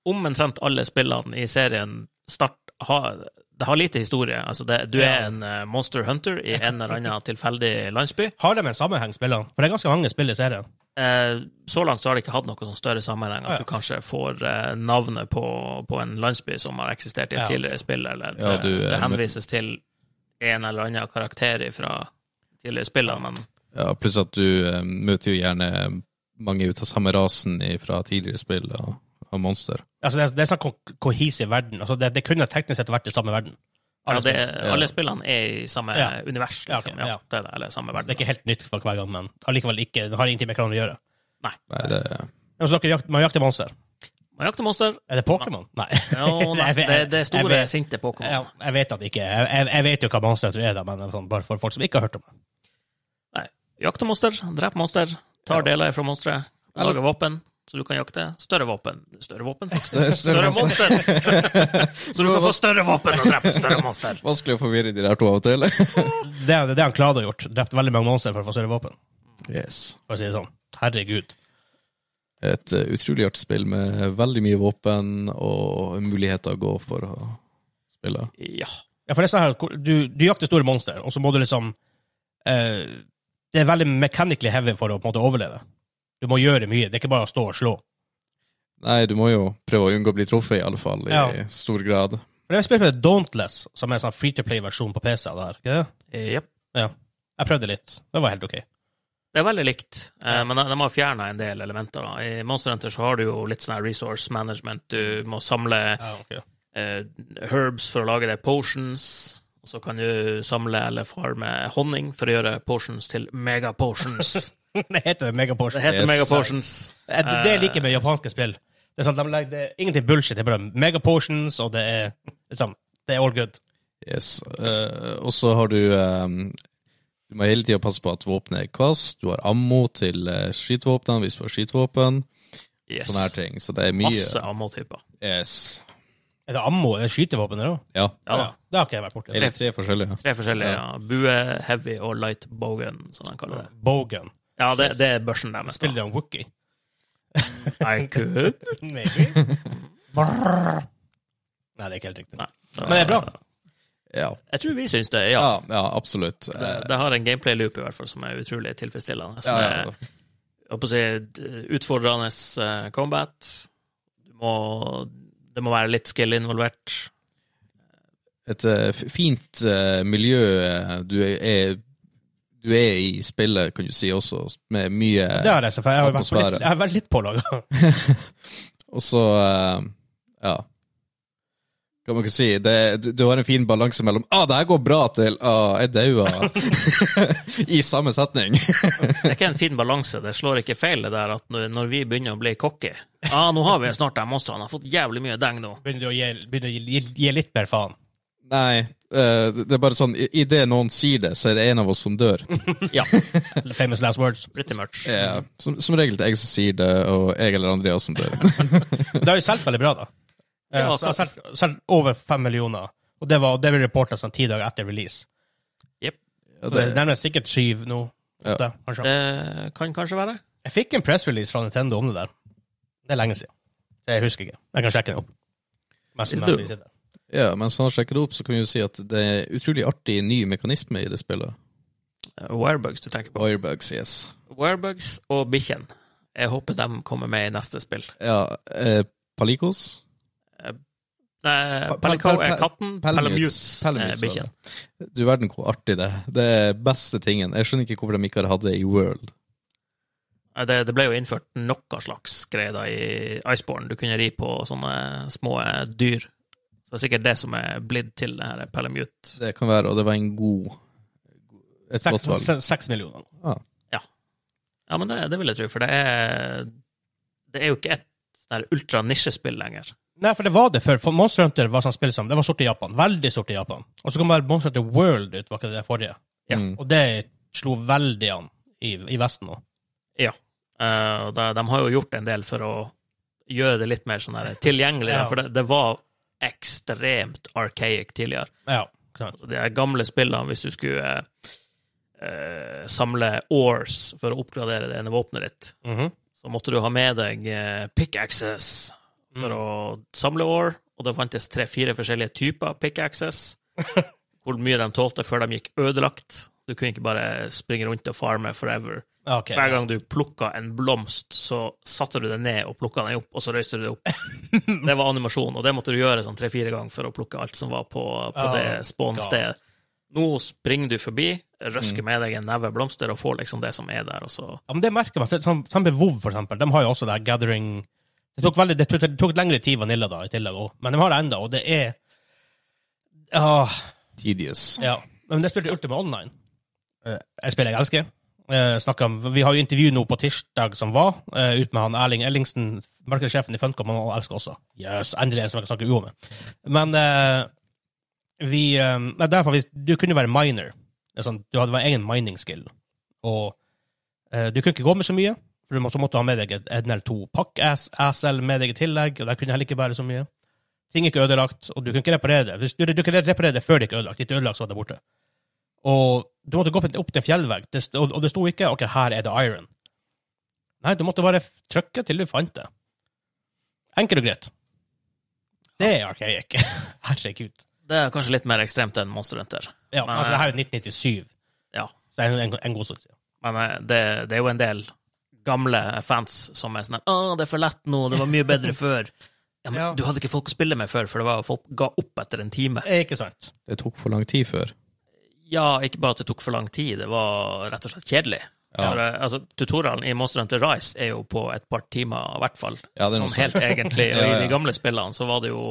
S3: Omtrent alle spillene i serien start har det har lite historie. Altså det, du er en eh, monster hunter i en eller annen tilfeldig landsby.
S2: Har de en sammenheng, spillene? For det er ganske mange spill i serien.
S3: Eh, så langt så har det ikke hatt noe sånn større sammenheng
S2: Ja.
S3: at du kanskje får eh, navnet på, på en landsby som har eksistert i et
S2: Ja.
S3: tidligere spill, eller at
S1: Ja,
S3: det-
S1: du er
S3: det
S1: med-
S3: henvises til en eller annen karakter fra tidligere spiller, men
S1: ja, pluss at du eh, møter jo gjerne mange ut av samme rasen i- fra tidligere spill og, og monster.
S2: Altså, det er, det er sånn ko- kohesiv verden. Altså, det, det kunne teknisk sett vært i samme verden.
S3: ja,
S2: Alle
S3: det,
S2: spill.
S1: ja.
S3: alle spillene er i samme
S2: Ja.
S3: univers,
S2: Ja, ok,
S3: liksom. Ja,
S2: ja.
S3: Det er det, eller samme
S2: det
S3: verden.
S2: er ikke helt nytt for hver gang, men allikevel ikke. Det har ingenting med hverandre å gjøre.
S1: Nei, det,
S2: Altså, dere jakt, man jakter monster.
S3: Man jakter monster.
S2: Er det Pokémon? Nei.
S3: Jo, nesten. Det, det er
S2: Jeg
S3: store,
S2: vet-
S3: sinte Pokémon.
S2: Ja, jeg vet at ikke jeg, jeg, jeg vet jo hva Monster Hunter er, da, men sånn, bare for folk som ikke har hørt om det.
S3: Jakter monster, dreper monster, tar
S1: Ja.
S3: deler fra monstre,
S1: Eller-
S3: lager våpen, så du kan jakte. Større våpen. Større våpen,
S1: Det er
S3: faktisk.
S1: større
S3: Større monster! så du kan få større våpen og drepe større monster.
S1: Vanskelig å forvirre de der to av og til.
S2: Det er det er han Klado har gjort. Drept veldig mange monstre for å få større våpen.
S1: yes.
S2: For å si det sånn. Herregud.
S1: Et eh, utrolig artig spill med veldig mye våpen og muligheter å gå for å spille.
S3: Ja.
S2: Ja, for det er sånn her, hvor- du, du jakter store monstre, og så må du liksom eh, Det er veldig mechanically heavy for å på en måte overleve. Du må gjøre mye. Det er ikke bare å stå og slå.
S1: Nei, du må jo prøve å unngå å bli truffet, i alle fall, i
S2: Ja.
S1: stor grad.
S2: For Jeg spilte med Dauntless, som er en sånn free to play-versjon på PC. av det her, ikke det?
S3: Jep.
S2: Jeg prøvde litt. Det var helt OK.
S3: Det er veldig likt, eh, men de de har fjerna en del elementer. da. I Monster Hunter så har du jo litt sånn her resource management. Du må samle
S2: Ja, ok.
S3: eh, herbs for å lage deg potions. Og så kan du samle eller farme honning for å gjøre potions til megapotions.
S2: det heter
S3: Det
S2: Megaportion.
S3: heter
S1: Yes.
S3: megapotions.
S2: Det, det jeg liker med japanske spill, det er sånn at de legger det er ingenting bullshit. Det er bare megaportions, og det er liksom Det er all good.
S1: Yes. Eh, og så har du eh, Du må hele tida passe på at våpenet er kvast, du har ammo til uh, skytevåpnene hvis du har skytevåpen,
S3: Yes.
S1: sånne Sånn her ting. Så det er mye
S3: Masse ammotyper.
S1: Yes.
S2: Er det ammo? Er det skytevåpen der òg?
S1: Ja.
S3: Ja, da.
S2: Det har ikke jeg vært borti.
S1: Det er tre forskjellige.
S3: Tre forskjellige. Ja. Bue, heavy og light bogan, som de kaller det.
S2: Bogan.
S3: Ja, det, det er børsen deres.
S2: Spiller de om Wookie?
S3: da. I could.
S2: Maybe. Brrr. Nei, det er ikke helt riktig.
S3: Nei.
S2: Men det er bra.
S1: Ja.
S3: Jeg tror vi syns det, ja.
S1: Ja, ja, absolutt.
S3: Det,
S1: Eh,
S3: det har en gameplay-loop i hvert fall som er utrolig tilfredsstillende. Som
S1: ja, ja, ja.
S3: er jeg håper å si, d- utfordrende eh, combat. Du må, det må være litt skill involvert.
S1: et eh, f- fint eh, miljø eh, du er, du er i spillet, kan du si, også, med mye
S2: Det har jeg sett, for jeg har vært på litt,
S1: Atmosfære.
S2: jeg har vært litt pålaga.
S1: Og så eh, Ja. Kan man ikke si det, du, du har en fin balanse mellom ah, det her går bra til ah, jeg daua i samme setning.
S3: Det er ikke en fin balanse. Det slår ikke feil, det der at når, når vi begynner å bli cocky Ja, nå har vi snart de monstrene. Har fått jævlig mye deng nå.
S2: Begynner du å gi, begynner å gi, gi litt mer faen?
S1: Nei, eh, det er bare sånn idet noen sier det, så er det en av oss som dør.
S3: Ja,
S2: Famous last words.
S3: pretty much.
S1: Eh, som, som regel det er jeg som sier det, og jeg eller Andreas som dør.
S2: Det har jo solgt veldig bra, da. Eh,
S3: Ja,
S2: så har solgt- Solgt over fem millioner. Og det, var, det ble reporta sånn ti dager etter release.
S1: Ja,
S2: Så det
S1: det,
S2: er nærmest sikkert syv nå.
S1: Ja.
S2: Åtte, kanskje.
S3: Det kan kanskje være.
S2: Jeg fikk en pressrelease fra Nintendo om det der. Det er lenge siden. Så jeg husker ikke. Jeg kan sjekke den opp. Mens,
S3: Hvis
S2: mens
S3: du-
S2: vi sitter.
S1: ja, mens han sjekker det opp, så kan vi jo si at det er utrolig artig ny mekanisme i det spillet.
S3: Wirebugs du tenker på.
S1: Wirebugs, yes.
S3: Wirebugs og bikkjen. Jeg håper de kommer med i neste spill.
S1: Ja, eh, Palikos?
S3: Nei,
S1: Pa-
S3: Pelico
S1: pa- pa-
S3: er katten, Palamutes er
S1: Palamutes,
S3: bikkjen.
S1: var det. Du verden hvor artig det er. Det er beste tingen. Jeg skjønner ikke hvorfor de ikke har hatt det i World.
S3: Nei, Det, det ble jo innført noe slags greier da i Iceborne. Du kunne ri på sånne små eh, dyr. Så det er sikkert det som er blitt til det her Palamute.
S1: Det kan være, og det var en god Et
S2: Seks,
S1: godt valg.
S2: se- seks millioner.
S3: Ja, men det, det vil jeg tro, for det er Det er jo ikke et sånn her ultra-nisjespill lenger.
S2: Nei, for det var det før. For Monster Hunter var sånn spill som Det var sort i Japan. Veldig sort i Japan. Og så kom bare Monster Hunter World ut, var ikke det det forrige?
S3: Ja.
S1: Mm.
S2: Og det slo veldig an i, i Vesten nå.
S3: Eh, og de, de har jo gjort en del for å gjøre det litt mer sånn her tilgjengelig. da,
S2: Ja.
S3: For det, det var ekstremt archaic tidligere.
S2: Ja, klart.
S3: De her gamle spillene, hvis du skulle eh, eh, samle ores for å oppgradere det ene våpenet ditt,
S2: Mhm.
S3: så måtte du ha med deg eh, pickaxes for å samle år, og det fantes tre-fire forskjellige typer pickaxes, hvor mye de tålte før de gikk ødelagt. Du kunne ikke bare springe rundt og farme forever.
S2: Ok.
S3: Hver gang du plukka en blomst, så satte du den ned og plukka den opp, og så røyste du det opp. Det var animasjon, og det måtte du gjøre sånn tre-fire ganger for å plukke alt som var på, på
S2: Ah,
S3: det spawn-stedet. Nå springer du forbi, røsker med deg en neve blomster og får liksom det som er der, og så
S2: Ja, men det merker man. Sånn, sånn med WoW, for eksempel. De har jo også det her gathering Det tok, veldig, det tok, det tok lengre tid i Vanilla, da, i tillegg også. Men de har det ennå, og det er Åh,
S1: Tedious.
S2: ja. Men jeg spilte Ultima Online. Eh, Et spill jeg elsker. Eh, snakket om, vi har jo intervju nå på tirsdag som var, eh, ut med han Erling Ellingsen, markedssjefen i Funcom, han elsker også. Yes, endelig en som jeg kan snakke uo med. Men eh, vi eh, nei, derfor, vi- Du kunne være miner. Det er sånn, du hadde egen mining skill. Og eh, du kunne ikke gå med så mye, for du må, så måtte du ha med deg et- en eller to pakk-ASL med deg i tillegg, og der kunne du heller ikke bære så mye. Ting er ikke ødelagt, og du kunne ikke reparere det. Hvis du, du kunne reparere det før det ikke er ødelagt. Litt ødelagt, så var det borte. Og du måtte gå opp, opp til en fjellvegg, det, st- og, og det sto ikke ok, her er det iron. Nei, du måtte bare f- trykke til du fant det. Enkelt og greit. Det er archaic. Herregud.
S3: Det er kanskje litt mer ekstremt enn Monster Hunter.
S2: Ja,
S3: Men-
S2: altså, det her er jo 1997,
S3: Ja.
S2: så det er en, en god stund siden.
S3: Men eh, det, det er jo en del gamle fans som er sånn her, Å, det er for lett nå, det var mye bedre før. Ja, men
S2: Ja.
S3: Du hadde ikke folk å spille med før, for det var folk ga opp etter en time.
S2: Eh, Ikke sant?
S1: Det tok for lang tid før.
S3: Ja, ikke bare at det tok for lang tid, det var rett og slett kjedelig.
S1: Ja.
S3: For, eh, altså, tutorialen i Monster Hunter Rise er jo på et par timer, i hvert fall.
S1: Ja, det er noe
S3: Sånn
S1: sånt.
S3: helt egentlig. Og
S1: Ja,
S3: i
S1: ja.
S3: de gamle spillene så var det jo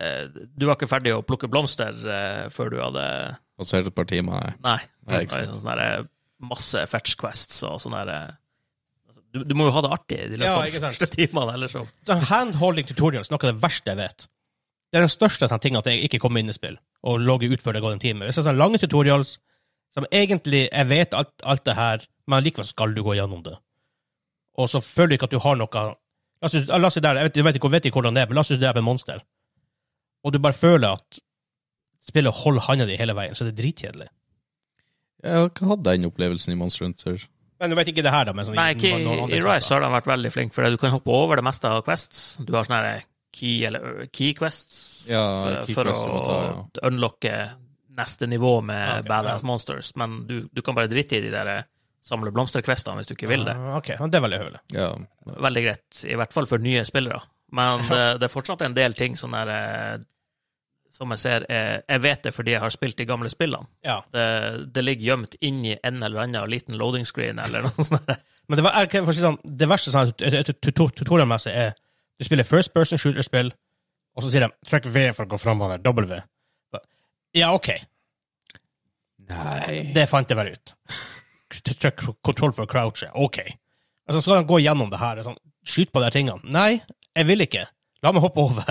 S3: eh, Du var ikke ferdig å plukke blomster eh, før du hadde
S1: Passert et par timer. nei.
S3: Nei.
S1: Nei,
S3: nei
S1: ikke sant.
S3: sånne sånn der, eh, masse fetch quests og sånne der, altså, du, du må jo ha det artig i de
S2: Ja, ikke
S3: løpet av de
S2: sant.
S3: første timene, ellers så
S2: Sånn Handholding tutorials er noe av det verste jeg vet. Det er den største sånn, ting at jeg ikke kommer inn i spill og logger ut før det går en time. Jeg synes sånn lange tutorials som egentlig Jeg vet alt, alt det her, men likevel skal du gå gjennom det. Og så føler du ikke at du har noe La oss, la oss si der, jeg vet, jeg vet ikke jeg vet ikke hvordan det er, men la oss si du er på Monster, og du bare føler at spillet holder handa di hele veien, så det er dritkjedelig.
S1: Jeg har ikke hatt den opplevelsen i Monster Hunter.
S2: Men du vet ikke det her, da. Men sånn,
S3: Nei, ikke
S2: noen andre
S3: i, i
S2: eksempler.
S3: Rise har de vært veldig flinke, for du kan hoppe over det meste av quests. Du har sånne her key, eller ø, key quests
S1: Ja,
S3: for,
S1: key
S3: for
S1: quests du må
S3: å
S1: ta,
S3: unlocke neste nivå med
S2: Ja, ok,
S3: Badass
S2: ja.
S3: Monsters, men du, du kan bare drite i de der øh, samle blomsterquestene hvis du ikke vil det.
S2: Ah, ok, men det er veldig høvelig.
S1: Ja.
S3: Veldig greit, i hvert fall for nye spillere. Men det, det er fortsatt en del ting sånn der, eh, som jeg ser eh, Jeg vet det fordi jeg har spilt de gamle spillene.
S2: Ja.
S3: Det, det ligger gjemt inni en eller annen liten loading screen eller noe sånt. der.
S2: Men det, var, er- for å si det sånn, det verste sånn, tut- tut- tut- tutorial-messig er du spiller first person shooter-spill, og så sier de 'trykk V for å gå framover'. W. Ja, OK.
S1: Nei.
S2: Det fant jeg bare ut. Trykk kontroll for å crouche. OK. Altså, skal de gå gjennom det her? og Sånn, Skyt på de her tingene. Nei, jeg vil ikke. La meg hoppe over.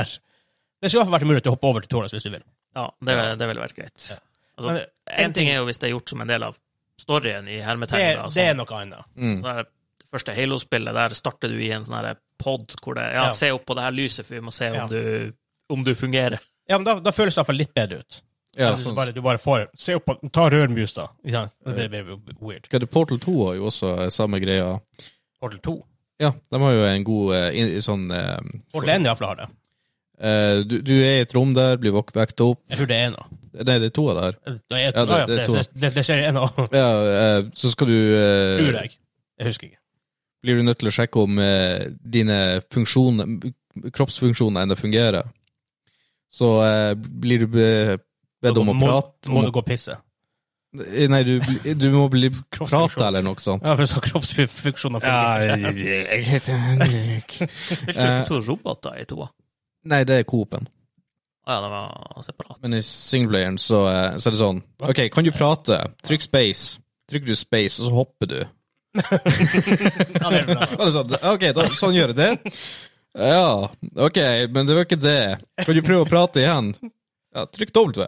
S2: Det skulle i hvert fall vært mulig å hoppe over tutorials hvis du vil.
S3: Ja, det, det ville vært greit.
S2: Ja.
S3: Altså,
S2: Men
S3: en ting er jo hvis det er gjort som en del av storyen i
S2: Det,
S3: hermetegninga.
S2: det er
S3: Sånn,
S2: noe annet.
S1: Mm.
S3: det er- det første Halo-spillet, der starter du i en sånn pod hvor det ja,
S2: Ja.
S3: se opp på det her lyset, for vi må se om,
S2: Ja.
S3: du, om du fungerer.
S2: Ja, men da, da føles det i hvert fall litt bedre ut.
S1: Ja,
S2: du,
S1: sånn.
S2: bare, du bare får Se opp på Ta rørmusa. Ja, det blir weird.
S1: Hva er det, Portal 2 har jo også samme greia.
S2: Portal 2.
S1: Ja, de har jo en god eh, in, sånn eh,
S2: Portal 1 i hvert fall har det.
S1: eh, du, du er i et rom der, blir vak- vekt opp.
S2: Jeg tror det er en av.
S1: Nei, det er to av det her.
S2: Det er,
S1: Ja, det-
S2: ja,
S1: det
S2: det,
S1: er to.
S2: det, det, det skjer en av,
S1: Ja, eh, så skal du eh,
S2: tror jeg. Jeg husker ikke.
S1: blir du nødt til å sjekke om eh, dine funksjoner, kroppsfunksjoner ennå fungerer. Så eh, blir du be, bedt om å
S2: må,
S1: prate
S2: Må
S1: om,
S2: du gå og pisse?
S1: å- Nei, du, bli- du må bli prate eller noe sånt.
S2: Ja, for så kroppsfunksjoner fungerer.
S1: jeg heter Henrik.
S3: Spilte du ikke to roboter i toa?
S1: Nei, det er Coop-en.
S3: Å ja, det var separat.
S1: Men i singleplayeren så, eh, så er det sånn Ok, kan du prate? Trykk space. Trykker du space, og så hopper du.
S2: Ja, det er bra.
S1: Og det er sånn, ok, da, sånn gjør jeg det. Ja, ok, men det var ikke det. Kan du prøve å prate igjen? Ja, trykk W.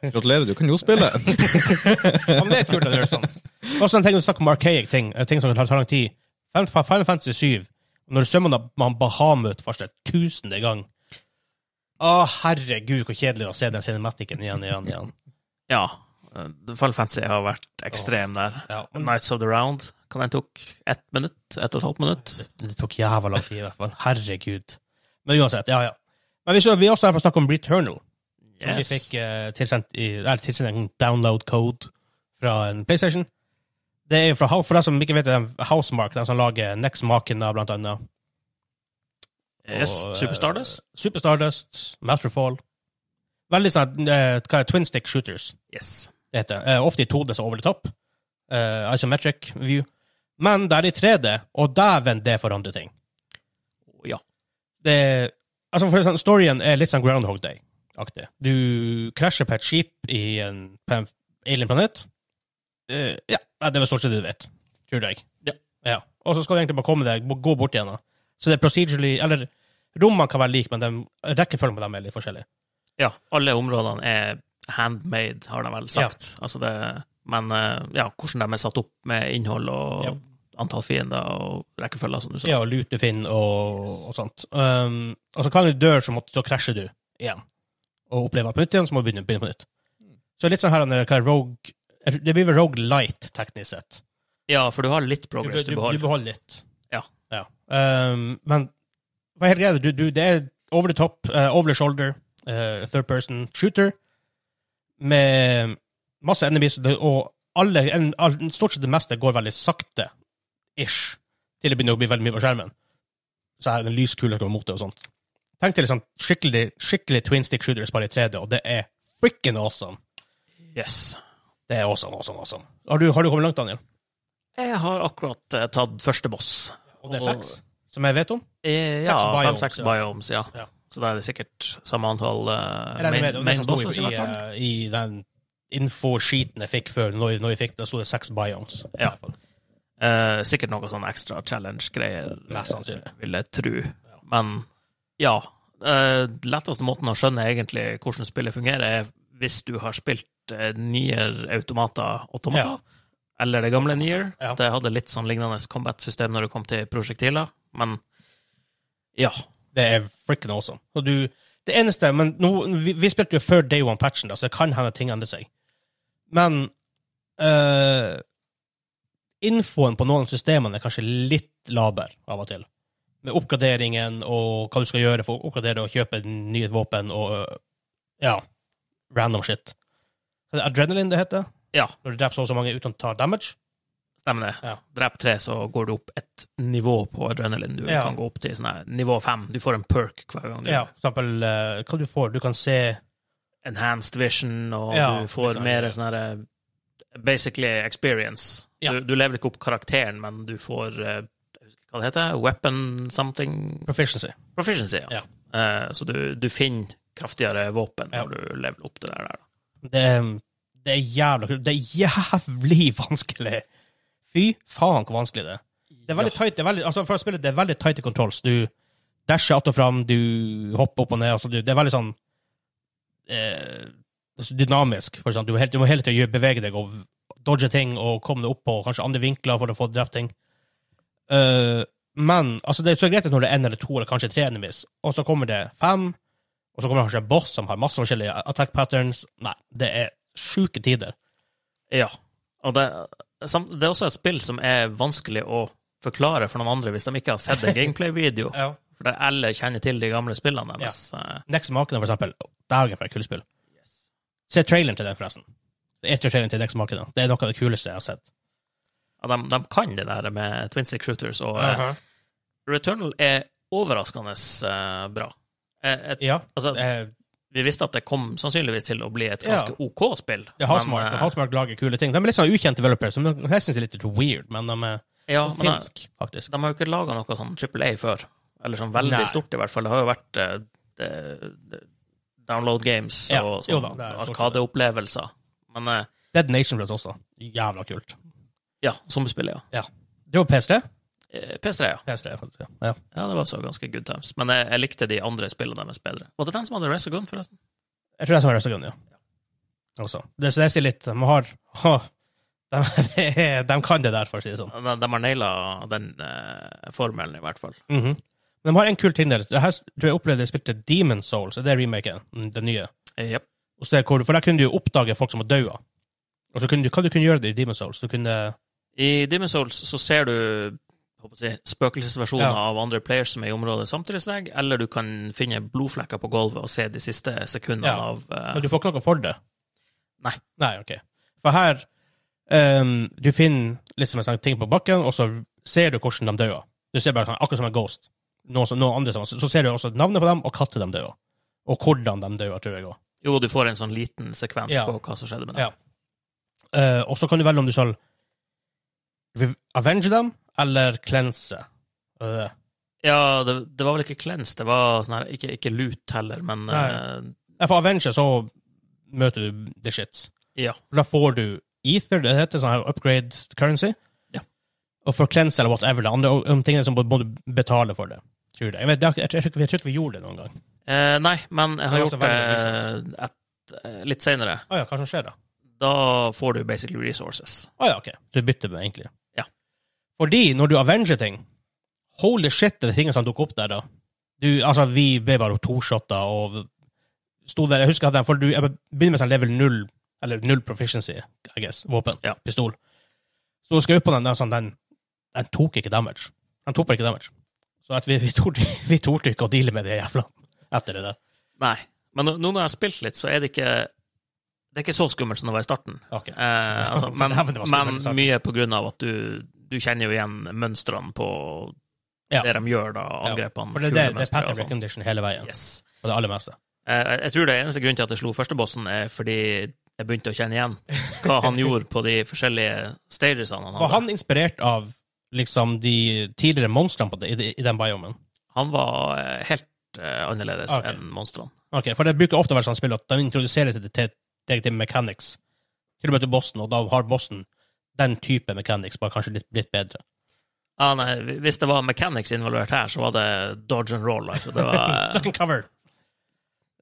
S1: Gratulerer, du kan jo spille.
S2: Ja, men det er kult at du gjør sånn. Også en ting du snakker om archaic ting, eh, ting som tar tar lang tid. Final Final Fantasy 7 Når du svømmer med Bahamut for tusende gang Å, herregud, hvor kjedelig å se den cinematikken igjen igjen. igjen.
S3: Ja. eh, Final Fantasy har vært ekstrem der.
S2: Ja, men
S3: Nights of the Round kan den tok ett minutt, ett og et halvt minutt.
S2: Det tok jævla lang tid, i hvert fall. Herregud. Men uansett, ja, ja. Men vi, skal- vi er også her for å snakke om Returnal, som vi
S3: Yes.
S2: fikk eh, tilsendt, i, eller, tilsendt en download code fra en PlayStation. Det er jo fra, Hou- for deg som ikke vet det, er Housemark, den som lager Next-maken av blant annet.
S3: Yes,
S2: Og, eh,
S3: Super Stardust?
S2: Super Stardust, Masterfall. Veldig sånn eh, hva er det, twin stick shooters,
S3: Yes.
S2: det heter. Eh, ofte i 2D så over the top. Eh, isometric view. Men det er i 3D, og dæven, det forandrer ting.
S3: Ja.
S2: det Altså for sånn, Storyen er litt sånn Groundhog Day-aktig. Du krasjer på et skip i en, på en alien-planet. Eh, ja, Nei, det er vel stort sett det du vet. Tror jeg.
S3: Ja.
S2: Og så skal du egentlig bare komme deg, gå bort igjen. da. Så det er procedurally Eller rommene kan være like, men dem- rekkefølgen på dem er litt forskjellig.
S3: ja. Alle områdene er handmade, har de vel sagt. Altså det, men eh, ja, hvordan de er satt opp med innhold og
S2: Ja.
S3: antall fiender og rekkefølger, som du sa.
S2: Ja, og lute Finn og, og sånt. Um, og så kan du dø, så, må, så krasjer du igjen. Og opplever alt på nytt igjen, så må du begynne, begynne på nytt. Så litt sånn her, hva er rogue, det blir vel Rogue Light, teknisk sett.
S3: Ja, for du har litt
S2: Du,
S3: progress
S2: du,
S3: du
S2: du
S3: beholder.
S2: beholder litt.
S3: Ja.
S2: Um, men hva er helt greit? Du, du, det er over the top, eh, over the shoulder, eh, third person shooter, med masse enemies, og det- og alle, en, all- stort sett det meste går veldig sakte, ish, til det begynner å bli veldig mye på skjermen. Så her er det en lyskule som går mot det og sånt. Tenk til liksom skikkelig, skikkelig twin stick shooters bare i 3D, og det er freaking awesome.
S3: Yes.
S2: Det er awesome, awesome, awesome. Har du, har du kommet langt, Daniel?
S3: Jeg har akkurat eh, tatt første boss.
S2: Og det er seks, som jeg vet om.
S3: Eh,
S2: Seks
S3: ja,
S2: biomes,
S3: fem-seks
S2: ja.
S3: biomes, ja.
S2: Ja.
S3: Så da er det sikkert samme antall eh,
S2: Jeg regner med
S3: main,
S2: det, det
S3: main
S2: som sto
S3: bosses, i
S2: i,
S3: hvert fall.
S2: eh, i den infoskiten jeg fikk før, når, når jeg fikk det, sto det seks biomes. i
S3: Ja.
S2: hvert fall.
S3: Eh, sikkert noe sånn ekstra challenge-greier,
S2: Mest sannsynlig.
S3: vil jeg tro. Men ja. eh, letteste måten å skjønne egentlig hvordan spillet fungerer, er hvis du har spilt uh, Nier-automater, automata, eller det gamle Nier.
S2: Ja.
S3: Det hadde litt sånn lignende combat-system når det kom til prosjektiler, men ja.
S2: Det er frikken awesome. Og du, det eneste, men nå, vi, vi spilte jo før Day One-patchen, da, så det kan hende ting endrer seg. Men eh, infoen på noen av systemene er kanskje litt laber av og til. Med oppgraderingen og hva du skal gjøre for å oppgradere og kjøpe nye våpen og eh, ja, random shit. Er det Adrenaline det heter?
S3: Ja.
S2: Når du dreper så og så mange uten å ta damage?
S3: Stemmer det.
S2: Ja.
S3: Drep tre, så går du opp et nivå på adrenalin. Du
S2: Ja.
S3: kan gå opp til sånn her nivå fem. Du får en perk hver gang. Du.
S2: Ja, for eksempel eh, hva du får. Du kan se
S3: Enhanced vision, og
S2: Ja,
S3: du får
S2: liksom.
S3: mer sånn her eh, Basically experience.
S2: Ja.
S3: Du, du lever ikke opp karakteren, men du får eh, jeg husker hva det heter, weapon something
S2: proficiency.
S3: proficiency.
S2: Ja.
S3: Eh, så du, du finner kraftigere våpen
S2: Ja.
S3: når du lever opp til det der. da.
S2: Det, er- det er jævla kult. Det er jævlig vanskelig. Fy faen, hvor vanskelig det er. Det er veldig tight, det er veldig, altså for å spille, det er veldig tight i controls. Du dasher att og fram, du hopper opp og ned. Altså du, det er veldig sånn eh, altså dynamisk. For sånn. du, må hele, du må hele tiden gjøre- bevege deg og dodge ting og komme deg opp på kanskje andre vinkler for å få drept ting. Eh, men altså, det er så greit at når det er én eller to eller kanskje tre enemies, og så kommer det fem, og så kommer det kanskje en boss som har masse forskjellige attack patterns Nei, det er sjuke tider.
S3: Ja. Og det, sam- det er også et spill som er vanskelig å forklare for noen andre hvis de ikke har sett en gameplay-video.
S2: Ja.
S3: For det alle kjenner til de gamle spillene deres. Eh,
S2: Next Markedet, for eksempel. Dagen for et kullspill. Se traileren til den, forresten. Det er traileren til Next Markedet. Det er noe av det kuleste jeg har sett.
S3: Ja, de, de kan det der med twin stick shooters, og eh, Returnal er overraskende eh, bra. Eh, et,
S2: Ja.
S3: altså,
S2: eh,
S3: vi visste at det kom sannsynligvis til å bli et
S2: Ja.
S3: ganske OK spill.
S2: Det er
S3: men,
S2: Housemark.
S3: eh,
S2: Housemark lager kule ting. De er litt sånn ukjente developers, som jeg syns er litt weird, men de er
S3: ja, men, eh,
S2: finsk, faktisk.
S3: de har jo ikke laga noe sånn Triple A før. Eller sånn veldig
S2: Nei.
S3: stort, i hvert fall. Det har jo vært eh, det- det- download games
S2: Ja,
S3: og
S2: jo
S3: sånn
S2: da, det er stort sett det.
S3: arkadeopplevelser. Men eh,
S2: Dead Nation Blood også. Jævla kult.
S3: ja, zombiespill, ja.
S2: Det var PS3?
S3: Eh, PS3, ja.
S2: PS3, faktisk. Ja. ja.
S3: ja. Det var også ganske good times. Men eh, jeg, jeg likte de andre spillene deres bedre. Var det den som hadde Resagun, forresten?
S2: Jeg tror det er som er Restaurant, ja. Også. Det, så det sier litt. De har, ha, De, de kan det der, for å si det sånn.
S3: De, de har naila den eh, formelen, i hvert fall.
S2: Mhm. Men de har en kul ting der. Det her tror jeg opplevde jeg spilte Demon Souls, det er remaken, mm, den nye.
S3: Eh, Jep.
S2: Og se hvor, for der kunne du jo oppdage folk som var døde. Og så kunne du, hva du kunne gjøre det i Demon Souls? Du kunne
S3: I Demon's Souls så ser du håper jeg, å si, spøkelsesversjoner
S2: Ja.
S3: av andre players som er i området samtidig som deg, eller du kan finne blodflekker på gulvet og se de siste sekundene
S2: Ja.
S3: av eh,
S2: Men du får ikke noe for det?
S3: Nei.
S2: Nei, ok. For her ehm, Du finner litt som en sånn ting på bakken, og så ser du hvordan de dør. Du ser bare sånn, akkurat som en ghost. Noen, som- noen andre som, Så ser du også navnet på dem, og når de dør. Og hvordan de dør, tror jeg òg.
S3: Jo, du får en sånn liten sekvens
S2: Ja.
S3: på hva som skjedde med
S2: Ja.
S3: dem.
S2: Eh, og så kan du velge om du skal rev- avenge dem eller cleanse. Eh,
S3: Ja, det, det var vel ikke cleanse, det var sånn her, ikke, ikke loot heller, men
S2: Nei.
S3: eh,
S2: Nei, for avenge, så møter du the shits.
S3: Ja.
S2: For Da får du ether, det heter sånn her upgrade currency.
S3: Ja.
S2: Og for cleanse eller whatever, det andre om tingene som må du betale for det. Tror jeg. Jeg, vet, det har- jeg, tror ikke, jeg tror ikke vi gjorde det noen gang.
S3: Eh, nei, men jeg
S2: Det
S3: har
S2: var
S3: gjort
S2: også
S3: det
S2: veldig
S3: et, eh, litt seinere.
S2: Å ja, hva som skjer da?
S3: Da får du basically resources.
S2: Å Ah, ja, ok. Du bytter med, egentlig.
S3: Ja.
S2: Fordi når du avenger ting, holy shit, det er tingene som dukker opp der, da. Du, altså, vi ble bare toshotta og sto der. Jeg husker at jeg, for du, jeg begynner med sånn level null, eller null proficiency, I guess, våpen,
S3: Ja.
S2: pistol. Så du skal opp på den, den, sånn, den, den tok ikke damage. Den tok bare ikke damage. Så at vi, vi torde vi torde ikke å deale med det jævla etter det der.
S3: Nei. Men nå nå når jeg har spilt litt, så er det ikke Det er ikke så skummelt som det var i starten.
S2: Ok.
S3: Eh, altså, men,
S2: Ja, men det var skummelt i
S3: men
S2: starten.
S3: mye på grunn av at du, du kjenner jo igjen mønstrene på
S2: Ja.
S3: det de gjør, da. Angrepene.
S2: For det, er det, det er
S3: kulemønstre og
S2: pattern
S3: sånn.
S2: recognition hele veien,
S3: Yes.
S2: på det aller meste.
S3: Eh, jeg- jeg tror det eneste grunnen til at jeg slo første bossen, er fordi jeg begynte å kjenne igjen hva han gjorde på de forskjellige stagesene han
S2: Var
S3: hadde.
S2: han inspirert av liksom de tidligere monstrene på det, i, de- i den biomen?
S3: Han var eh, helt eh, annerledes
S2: Ok.
S3: enn monstrene.
S2: Ok, For det bruker ofte å være sånn spill at de introduserer seg til, til, til mechanics. Til og med til bossen, og da har bossen den type mechanics, bare kanskje litt, litt bedre.
S3: Ja, Ah, nei, hvis det var mechanics involvert her, så var det dodge and roll. Altså. Det var,
S2: Duck and cover.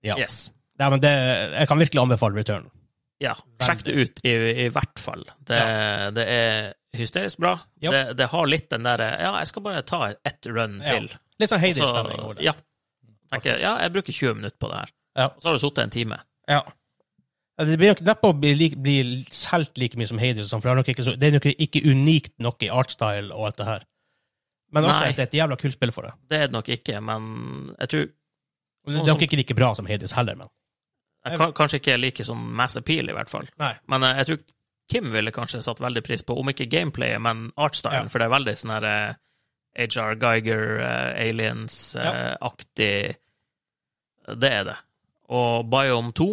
S2: Ja.
S3: yes.
S2: Nei, men det, jeg kan virkelig anbefale Return.
S3: ja. Sjekk det ut, i, i hvert fall. Det, det er hysterisk bra.
S2: Ja.
S3: Det, det har litt den derre Ja, jeg skal bare ta ett run
S2: Ja.
S3: til.
S2: Litt sånn
S3: Så,
S2: Hades-stemning over det.
S3: Altså, ja. Tenker, ja, jeg bruker 20 minutter på det her.
S2: Ja.
S3: Og så har du sittet en time.
S2: Ja. Det blir nok neppe å bli, lik- bli solgt like mye som Hades, og sånn, for det er nok ikke, så, det er nok ikke unikt nok i artstyle og alt det her. Men også
S3: Nei.
S2: at det er et jævla kult spill for det.
S3: Det er det nok ikke, men jeg tror
S2: Og Det
S3: Sånn
S2: det er
S3: som-
S2: nok ikke like bra som Hades heller, men
S3: jeg kan, Kanskje ikke like sånn mass appeal, i hvert fall.
S2: Nei.
S3: Men eh, jeg tror Kim ville kanskje satt veldig pris på, om ikke gameplayet, men artstylen,
S2: Ja.
S3: for det er veldig sånn her eh, HR Geiger, eh, Aliens-aktig Det er det. Og Biome 2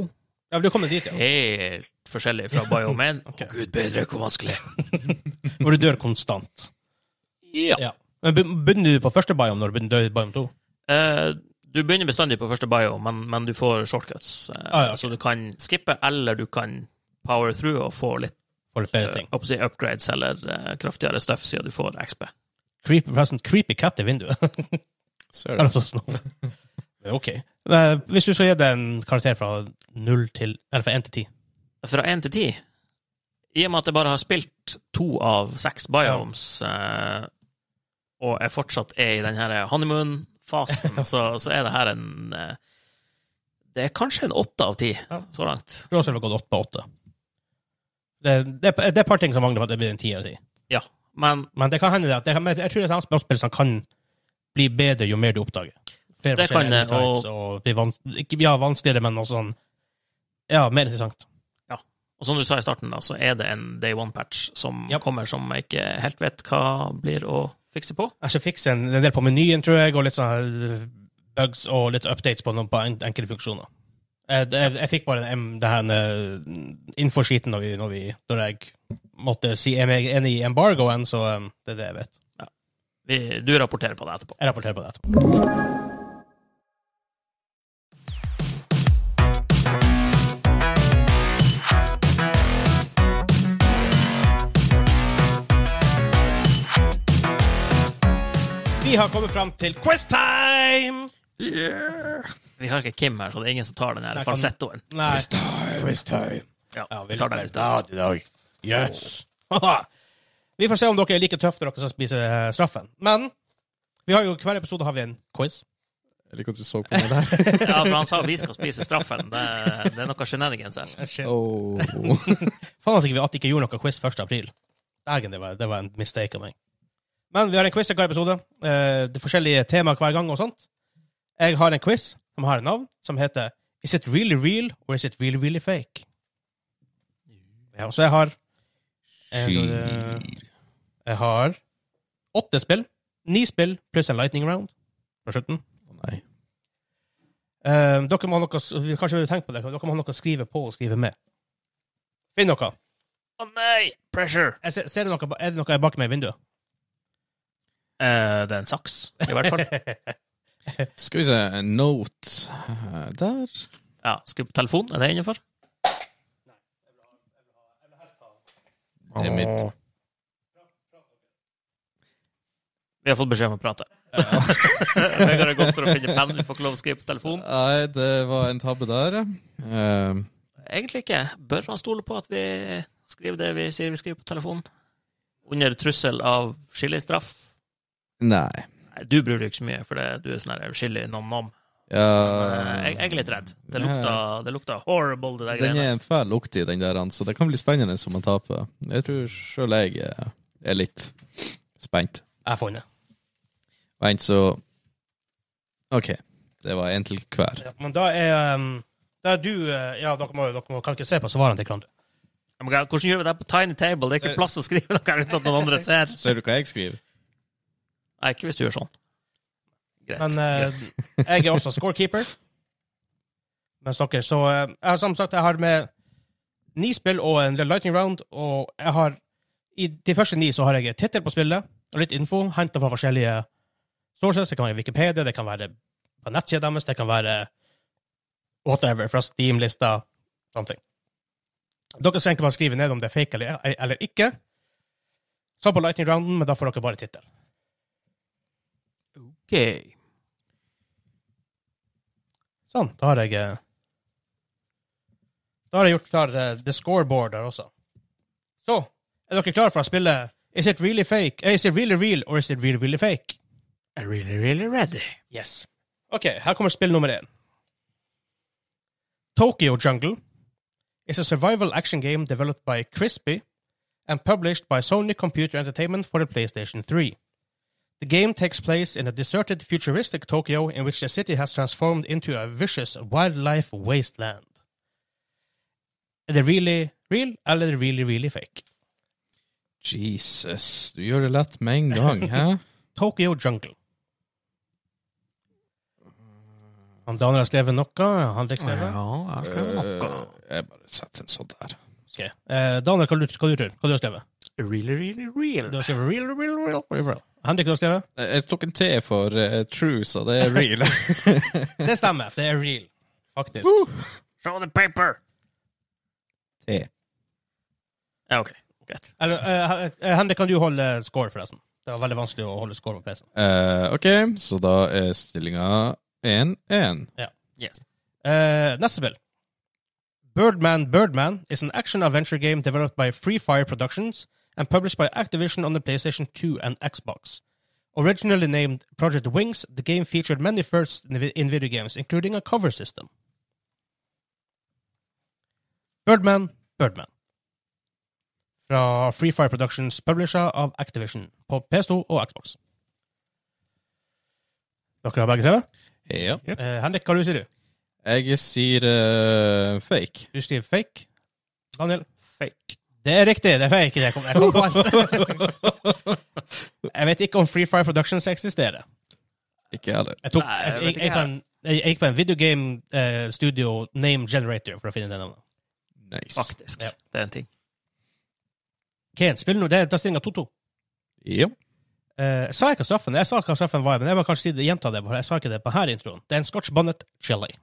S2: Ja, du kommer dit, ja.
S3: helt forskjellig fra Biome 1.
S2: Ok.
S3: Å gud bedre, hvor vanskelig!
S2: Hvor du dør konstant.
S3: Ja.
S2: Ja. Men be- begynner du på første biome når du begynner dør i biome to?
S3: Eh, du begynner bestandig på første bio, men, men du får shortcuts. eh,
S2: Ah, ja, ok.
S3: Så du kan skippe, eller du kan power through og få litt
S2: For flere
S3: eh,
S2: ting.
S3: hva på å si, upgrades eller eh, kraftigere stuff siden du får XP.
S2: Creep, forresten, creepy cat i vinduet.
S1: Ser
S2: Eller
S1: du?
S2: noe sånt. Men ok. Men Hvis du skal gi det en karakter fra 0 til Eller fra 1 til 10
S3: Fra én til ti I og med at jeg bare har spilt to av seks biomes, eh, og jeg fortsatt er i den her honeymoon-fasen, så, så er det her en eh, Det er kanskje en åtte av ti
S2: Ja.
S3: så langt.
S2: Jeg tror også det var gått 8 på 8. Det, det, er- det er et par ting som mangler for at det blir en 10 av 10.
S3: Ja. Men
S2: Men det kan hende det at det, men jeg tror det er sånne spørsmål som kan bli bedre jo mer du oppdager. Flere
S3: Det
S2: forskjellige
S3: kan det,
S2: elements, og bli vans ikke, ja, vanskeligere, men også sånn Ja, mer interessant.
S3: Og som du sa i starten, da, så er det en day one-patch som
S2: Japp.
S3: kommer som jeg ikke helt vet hva blir å fikse på.
S2: Jeg skal fikse en, en del på menyen, tror jeg, og litt sånne her, øh, bugs og litt updates på, noen, på en, enkelte funksjoner. Jeg, jeg, jeg fikk bare den, det her øh, infoskiten når, vi, når, vi, når jeg måtte si er jeg enig i embargoen, så øh, det er det jeg vet.
S3: Vi, du rapporterer på det etterpå.
S2: Jeg rapporterer på det etterpå. Vi har kommet fram til quiz time!
S3: Vi har ikke Kim her, så det er ingen som tar den her
S2: Nei, kan-
S3: falsettoen.
S2: Nei.
S1: Quiz time.
S2: Quiz time.
S3: Ja,
S2: Ja,
S3: vi
S2: vi
S3: tar den i sted.
S2: i dag. Yes. Haha. vi får se om dere er like tøffe når dere skal spise eh, straffen. Men vi har jo, hver episode har vi en quiz.
S1: Jeg liker at du så på meg der.
S3: Ja, for han sa vi skal spise straffen. Det, det er noe shenanigans her.
S2: Faen
S1: Oh.
S2: at ikke vi at ikke gjorde noe quiz 1. april. Dægen, det var, det var en mistake av meg. Men vi har en quiz i hver episode. Eh, det er forskjellige temaer hver gang og sånt. Jeg har en quiz som har et navn, som heter Is it really real, or is it really, really fake? Ja, og så jeg har Jeg- Jeg har åtte spill. Ni spill pluss en lightning round på slutten.
S1: Å, Nei.
S2: Eh, dere må ha noe, s- kanskje dere tenker på det, dere må ha noe å skrive på og skrive med. Finn noe.
S3: Å nei! Pressure!
S2: Jeg ser, ser du noe. ba- Er det noe bak meg i vinduet?
S3: Eh, det er en saks, i hvert fall.
S1: Skal vi se, en note eh, der.
S3: Ja, Skru på telefonen. Er det innenfor?
S1: Det er mitt.
S3: Vi har fått beskjed om å prate. Vegard har gått for å finne penn. Du får ikke lov å skrive på telefonen.
S1: Nei, det var en tabbe der. Eh,
S3: Egentlig ikke. Bør han stole på at vi skriver det vi sier vi skriver på telefonen? Under trussel av skillestraff?
S1: nei.
S3: Nei, du bryr deg ikke så mye, for det, du er sånn her uskyldig nom-nom. Eh,
S1: Ja,
S3: Jeg, jeg er litt redd. Det
S1: Ja,
S3: lukta,
S1: ja.
S3: det lukta horrible, det der
S1: den
S3: greiene.
S1: er en fæl lukt i den der, han, så det kan bli spennende om man taper. Jeg tror sjøl jeg eh, er litt spent.
S2: Jeg har funnet.
S1: Vent, så OK. Det var én til hver.
S2: Ja, men da er, ehm, da er du eh, Ja, dere, må, dere må, kan ikke se på svarene til hverandre.
S3: Ja, men hva- Hvordan gjør vi det på tiny table? Det er
S1: Ser-
S3: ikke plass å skrive noe her uten at noen andre ser.
S1: Ser du hva jeg skriver?
S3: Nei, ikke hvis du gjør sånn. Greit.
S2: Men eh,
S3: greit.
S2: jeg er også scorekeeper. Mens dere, så eh, jeg har Som sagt, jeg har med ni spill og en lightning round, og jeg har I de første ni så har jeg tittel på spillet og litt info henta fra forskjellige sources. Det kan være Wikipedia, det kan være på nettsida deres, det kan være whatever fra Steam-lista, sånne ting. Dere skal egentlig bare skrive ned om det er fake eller, eller ikke. Så på lightning rounden, men da får dere bare tittel.
S3: Ok.
S2: Sånn, da har jeg eh, Da har jeg gjort klar eh, the scoreboard der også. Så, er dere klare for å spille Is it really fake? Eh, Is it really real, or is it really, really fake?
S3: I'm really, really ready.
S2: Yes. OK, her kommer spill nummer én. Tokyo Jungle is a survival action game developed by Crispy and published by Sony Computer Entertainment for the PlayStation 3. The game takes place in a deserted, futuristic Tokyo in which the city has transformed into a vicious wildlife wasteland. Er det really real, eller er det really, really fake?
S1: Jesus, du gjør det lett med en gang, hæ?
S2: Tokyo Jungle. Han Daniel har skrevet noe, han har ikke skrevet.
S3: Ja, jeg skal gjøre noe.
S1: Eh, jeg bare setter en sånn der.
S2: Ok. Eh, Daniel, hva du, hva du tror Hva du har skrevet?
S3: Really, really
S2: Du
S3: real.
S2: har skrevet real, real, real, real, real. Henrik, hva du har skrevet?
S1: Eh, Jeg tok en T for eh, true, så det er real.
S2: Det stemmer. Det er real, faktisk.
S3: Show the paper!
S1: T.
S3: Ja, ok. Greit.
S2: Eller, eh, eh, Henrik, kan du holde score, forresten? Det var veldig vanskelig å holde score på PC-en.
S1: Eh, ok, så da er stillinga 1-1.
S3: Yes.
S2: Eh, neste spill. Birdman Birdman is an action-adventure game developed by Free Fire Productions and published by Activision on the PlayStation 2 and Xbox. Originally named Project Wings, the game featured many firsts in vi- in video games, including a cover system. Birdman Birdman. Fra Free Fire Productions, publisher av Activision, på PS2 og Xbox. Dere har begge sett det?
S1: Ja.
S2: Eh, Henrik, hva sier du?
S1: Jeg sier eh, fake.
S2: Du skriver fake. Daniel?
S3: Fake.
S2: Det er riktig, det er fake. Jeg kom, jeg kom på alt. jeg vet ikke om Free Fire Productions eksisterer.
S1: Ikke jeg heller.
S2: Jeg, tok,
S3: Nei,
S2: jeg,
S3: jeg
S2: jeg,
S3: vet
S2: jeg,
S3: ikke
S2: gikk på en- jeg, jeg gikk på en videogame eh, studio name generator for å finne det navnet.
S1: Nice.
S3: Faktisk.
S2: Ja.
S3: Det er en ting.
S2: Kane, spill nå. Det er stillinga 2-2.
S1: Ja.
S2: Eh, jeg sa ikke straffen Jeg sa hva straffen var, men jeg må kanskje si det, gjenta det. for Jeg sa ikke det på her introen. Det er en scotch bonnet
S3: Ah,
S2: chili.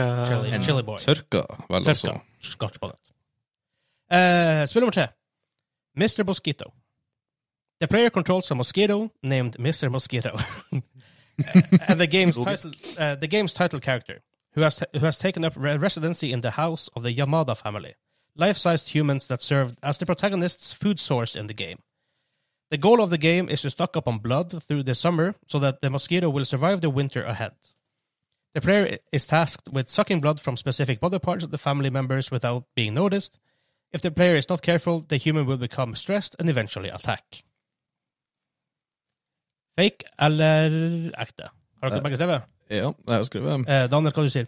S2: Chili,
S1: En
S2: chili boy.
S1: Eh, Tørka, vel altså. også.
S2: Tørka. Scotch bonnet. Eh, spill nummer tre. Mr. Mosquito. The player controls a mosquito named Mr. Mosquito. Eh, and the game's, title, uh, the game's title character, who has, who has taken up re- residency in the house of the Yamada family, life-sized humans that served as the protagonist's food source in the game. The goal of the game is to stock up on blood through the summer so that the mosquito will survive the winter ahead. The player i- is tasked with sucking blood from specific body parts of the family members without being noticed. If the player is not careful, the human will become stressed and eventually attack. Fake eller ekte? Har dere begge skrevet?
S1: Ja, jeg skriver
S2: Eh, Daniel, hva du sier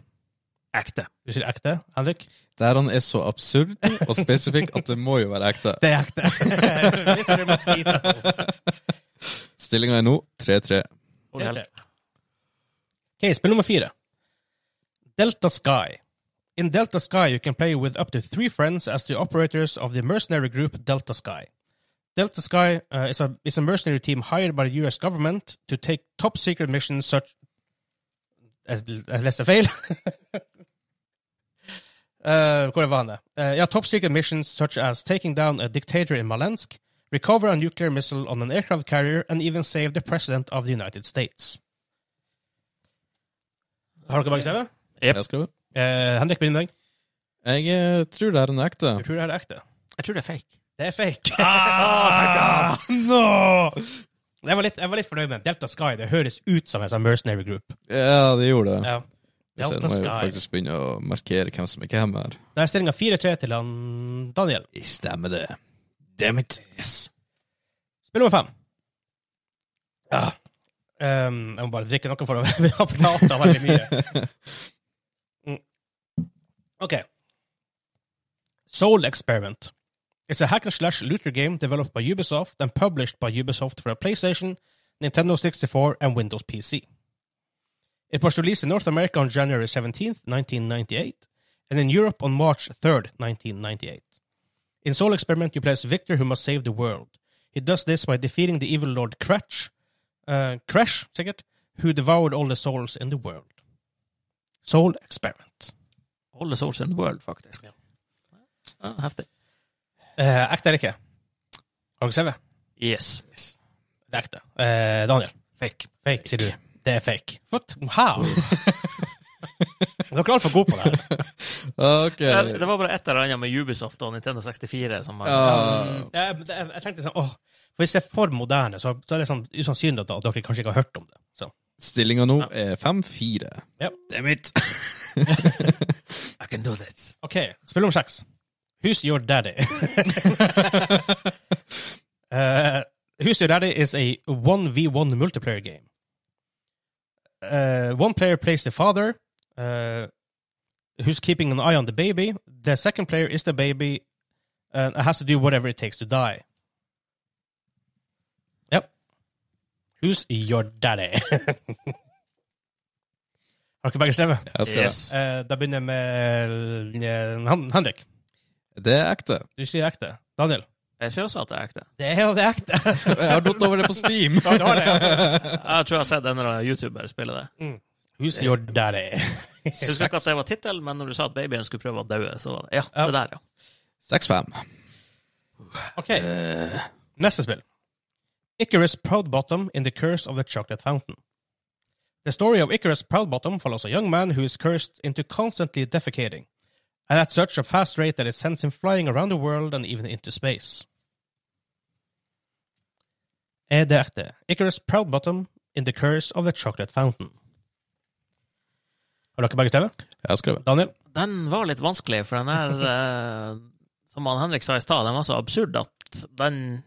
S3: Ekte.
S2: du? sier ekte, Henrik?
S1: Der han er så absurd og spesifikk at det må jo være ekte.
S2: Det er ekte. Mr. Mosquito.
S1: Stillinga er nå 3-3.
S2: Tre, tre. Okay, spill nummer fire. Delta Sky. In Delta Sky, you can play with up to three friends as the operators of the mercenary group Delta Sky. Delta Sky uh, is, a, is a mercenary team hired by the U.S. government to take top secret missions such. Jeg jeg leste feil. uh, hvor var han? da? Uh, ja, top secret missions such as taking down a dictator in Malensk, recover a nuclear missile on an aircraft carrier, and even save the president of the United States. Har dere begge skrevet?
S1: Jeg, skriver.
S2: Eh, Henrik, begynn med deg.
S1: jeg eh, tror det er en ekte.
S2: Du tror det her er ekte?
S3: Jeg tror det er fake.
S2: Det er fake.
S3: Ah,
S2: Jeg var, litt, jeg var litt fornøyd med Delta Sky. Det høres ut som en sånn mercenary group.
S1: Ja, det gjorde det.
S2: Ja.
S1: Jeg ser,
S2: Delta
S1: nå må jeg
S2: Sky.
S1: faktisk begynne å markere hvem som ikke er hvem her.
S2: Da er stillinga 4-3 til han Daniel.
S1: Stemmer det. Damn it.
S3: Yes.
S2: Spill nummer fem. Ja. Ehm, jeg må bare drikke noe for å Vi har prata veldig mye. Mm. OK. Soul Experiment. It's a hack and slash looter game developed by Ubisoft and published by Ubisoft for a PlayStation, Nintendo 64, and Windows PC. It was released in North America on January 17th, 1998, and in Europe on March 3rd, 1998. In Soul Experiment, you play as Victor who must save the world. He does this by defeating the evil lord Crash, uh, Crash, sikkert, who devoured all the souls in the world. Soul Experiment.
S3: All the souls in the world, faktisk. Ja. heftig.
S2: Eh, ekte eller ikke? Har dere skrevet?
S3: Yes.
S2: Det er ekte. Eh, Daniel?
S3: Fake.
S2: Fake, sier du. Det er fake. What? How? Dere er altfor gode på det. her.
S1: Ok.
S3: Det, det var bare et eller annet med Ubisoft og Nintendo 64 som var
S1: Eh, Ja.
S2: Jeg, jeg, jeg tenkte sånn, åh, for hvis det er for moderne, så, så er det sånn usannsynlig at dere kanskje ikke har hørt om det. Så.
S1: Stillinga nå er 5-4.
S2: Ja.
S1: Damn it.
S3: I can do this.
S2: Ok, spill om seks. Who's your daddy? uh, Who's your daddy is a 1v1 multiplayer game. Uh, one player plays the father, uh, who's keeping an eye on the baby. The second player is the baby and has to do whatever it takes to die. Yep. Who's your daddy? Har ikke begge skrevet?
S1: Jeg skal.
S3: Yes.
S2: Eh, da begynner jeg med eh, Han- Henrik.
S1: Det er ekte.
S2: Du sier ekte. Daniel?
S3: Jeg sier også at det er ekte.
S2: Det er jo det ekte.
S1: Jeg har datt over det på Steam.
S3: Jeg tror jeg har sett en eller annen YouTuber spille det.
S2: Who's your daddy?
S3: Jeg husker ikke at det var tittel, men når du sa at babyen skulle prøve å daue, så var det ja, det der, ja.
S1: 6-5.
S2: OK. Neste spill. Icarus Proudbottom in the Curse of the Chocolate Fountain. The story of Icarus Proudbottom follows a young man who is cursed into constantly defecating, and at such a fast rate that it sends him flying around the world and even into space. Er det ekte? Icarus Proudbottom in the Curse of the Chocolate Fountain. Har dere begge skrevet?
S1: Jeg har skrevet.
S2: Daniel?
S3: Den var litt vanskelig, for den her, eh, som han Henrik sa i stad, den var så absurd at den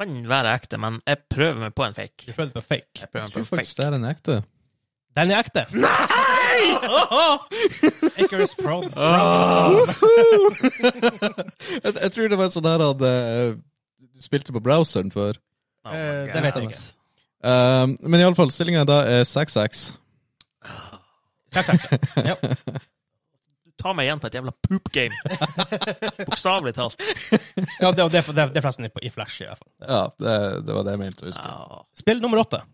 S3: kan være ekte, men jeg prøver meg på en fake.
S2: prøvde på fake.
S1: Jeg tror faktisk det er en ekte.
S2: Den er ekte. Nei! Icarus Proud.
S1: Jeg, jeg tror det var sånn her at eh, du spilte på browseren før.
S3: Oh my
S2: Eh, det
S3: God.
S2: vet jeg ikke.
S1: Um, men iallfall, stillinga da er 6-6.
S2: Takk, takk. Ja.
S3: Du tar meg igjen på et jævla poop game. Bokstavelig talt.
S2: Ja, det, det, det, det er forresten i flash, i hvert fall.
S1: Ja, det, det var det jeg mente å huske.
S3: Ja.
S2: Spill nummer åtte.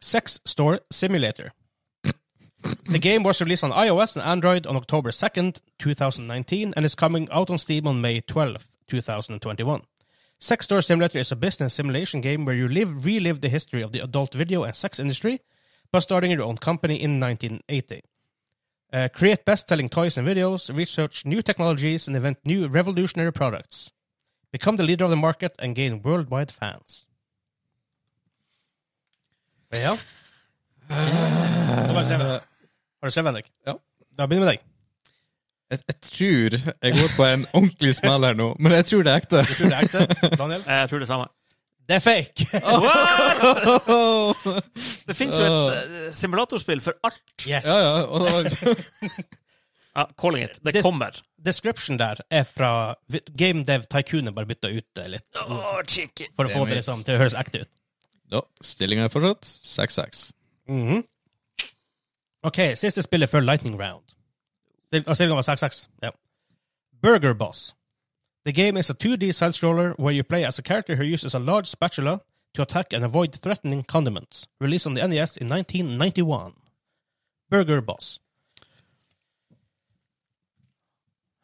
S2: Sex Store Simulator. The game was released on iOS and Android on October 2nd, 2019, and is coming out on Steam on May 12th, 2021. Sex Store Simulator is a business simulation game where you live, relive the history of the adult video and sex industry by starting your own company in 1980. Uh, create best-selling toys and videos, research new technologies, and invent new revolutionary products. Become the leader of the market and gain worldwide fans. Ja. Da var det Seven. Har du sett, Henrik?
S1: Ja.
S2: Da begynner vi med deg.
S1: Jeg, jeg tror jeg går på en ordentlig smell her nå, men jeg tror det er ekte.
S2: Tror du det Eh. er ekte, Daniel?
S3: Jeg tror det samme.
S2: Det er fake!
S3: What? Det fins jo et eh, simulatorspill for alt.
S2: Yes.
S1: ja, ja. Og da,
S3: Ja, calling it. Det
S2: Det-
S3: kommer.
S2: Description der er fra vi- Game Dev Tycoon, bare bytta ut det litt.
S3: Åh, chicken.
S2: For å få
S1: Damn it.
S2: det liksom, til å høres ekte ut.
S1: ja, Stillinga er fortsatt 6-6.
S2: Mhm. OK, siste spillet før Lightning Round. Stil- Og stillingen var 6-6. Ja. Burger Boss. The game is a 2D side-scroller where you play as a character who uses a large spatula to attack and avoid threatening condiments. Released on the NES in 1991. Burger Boss.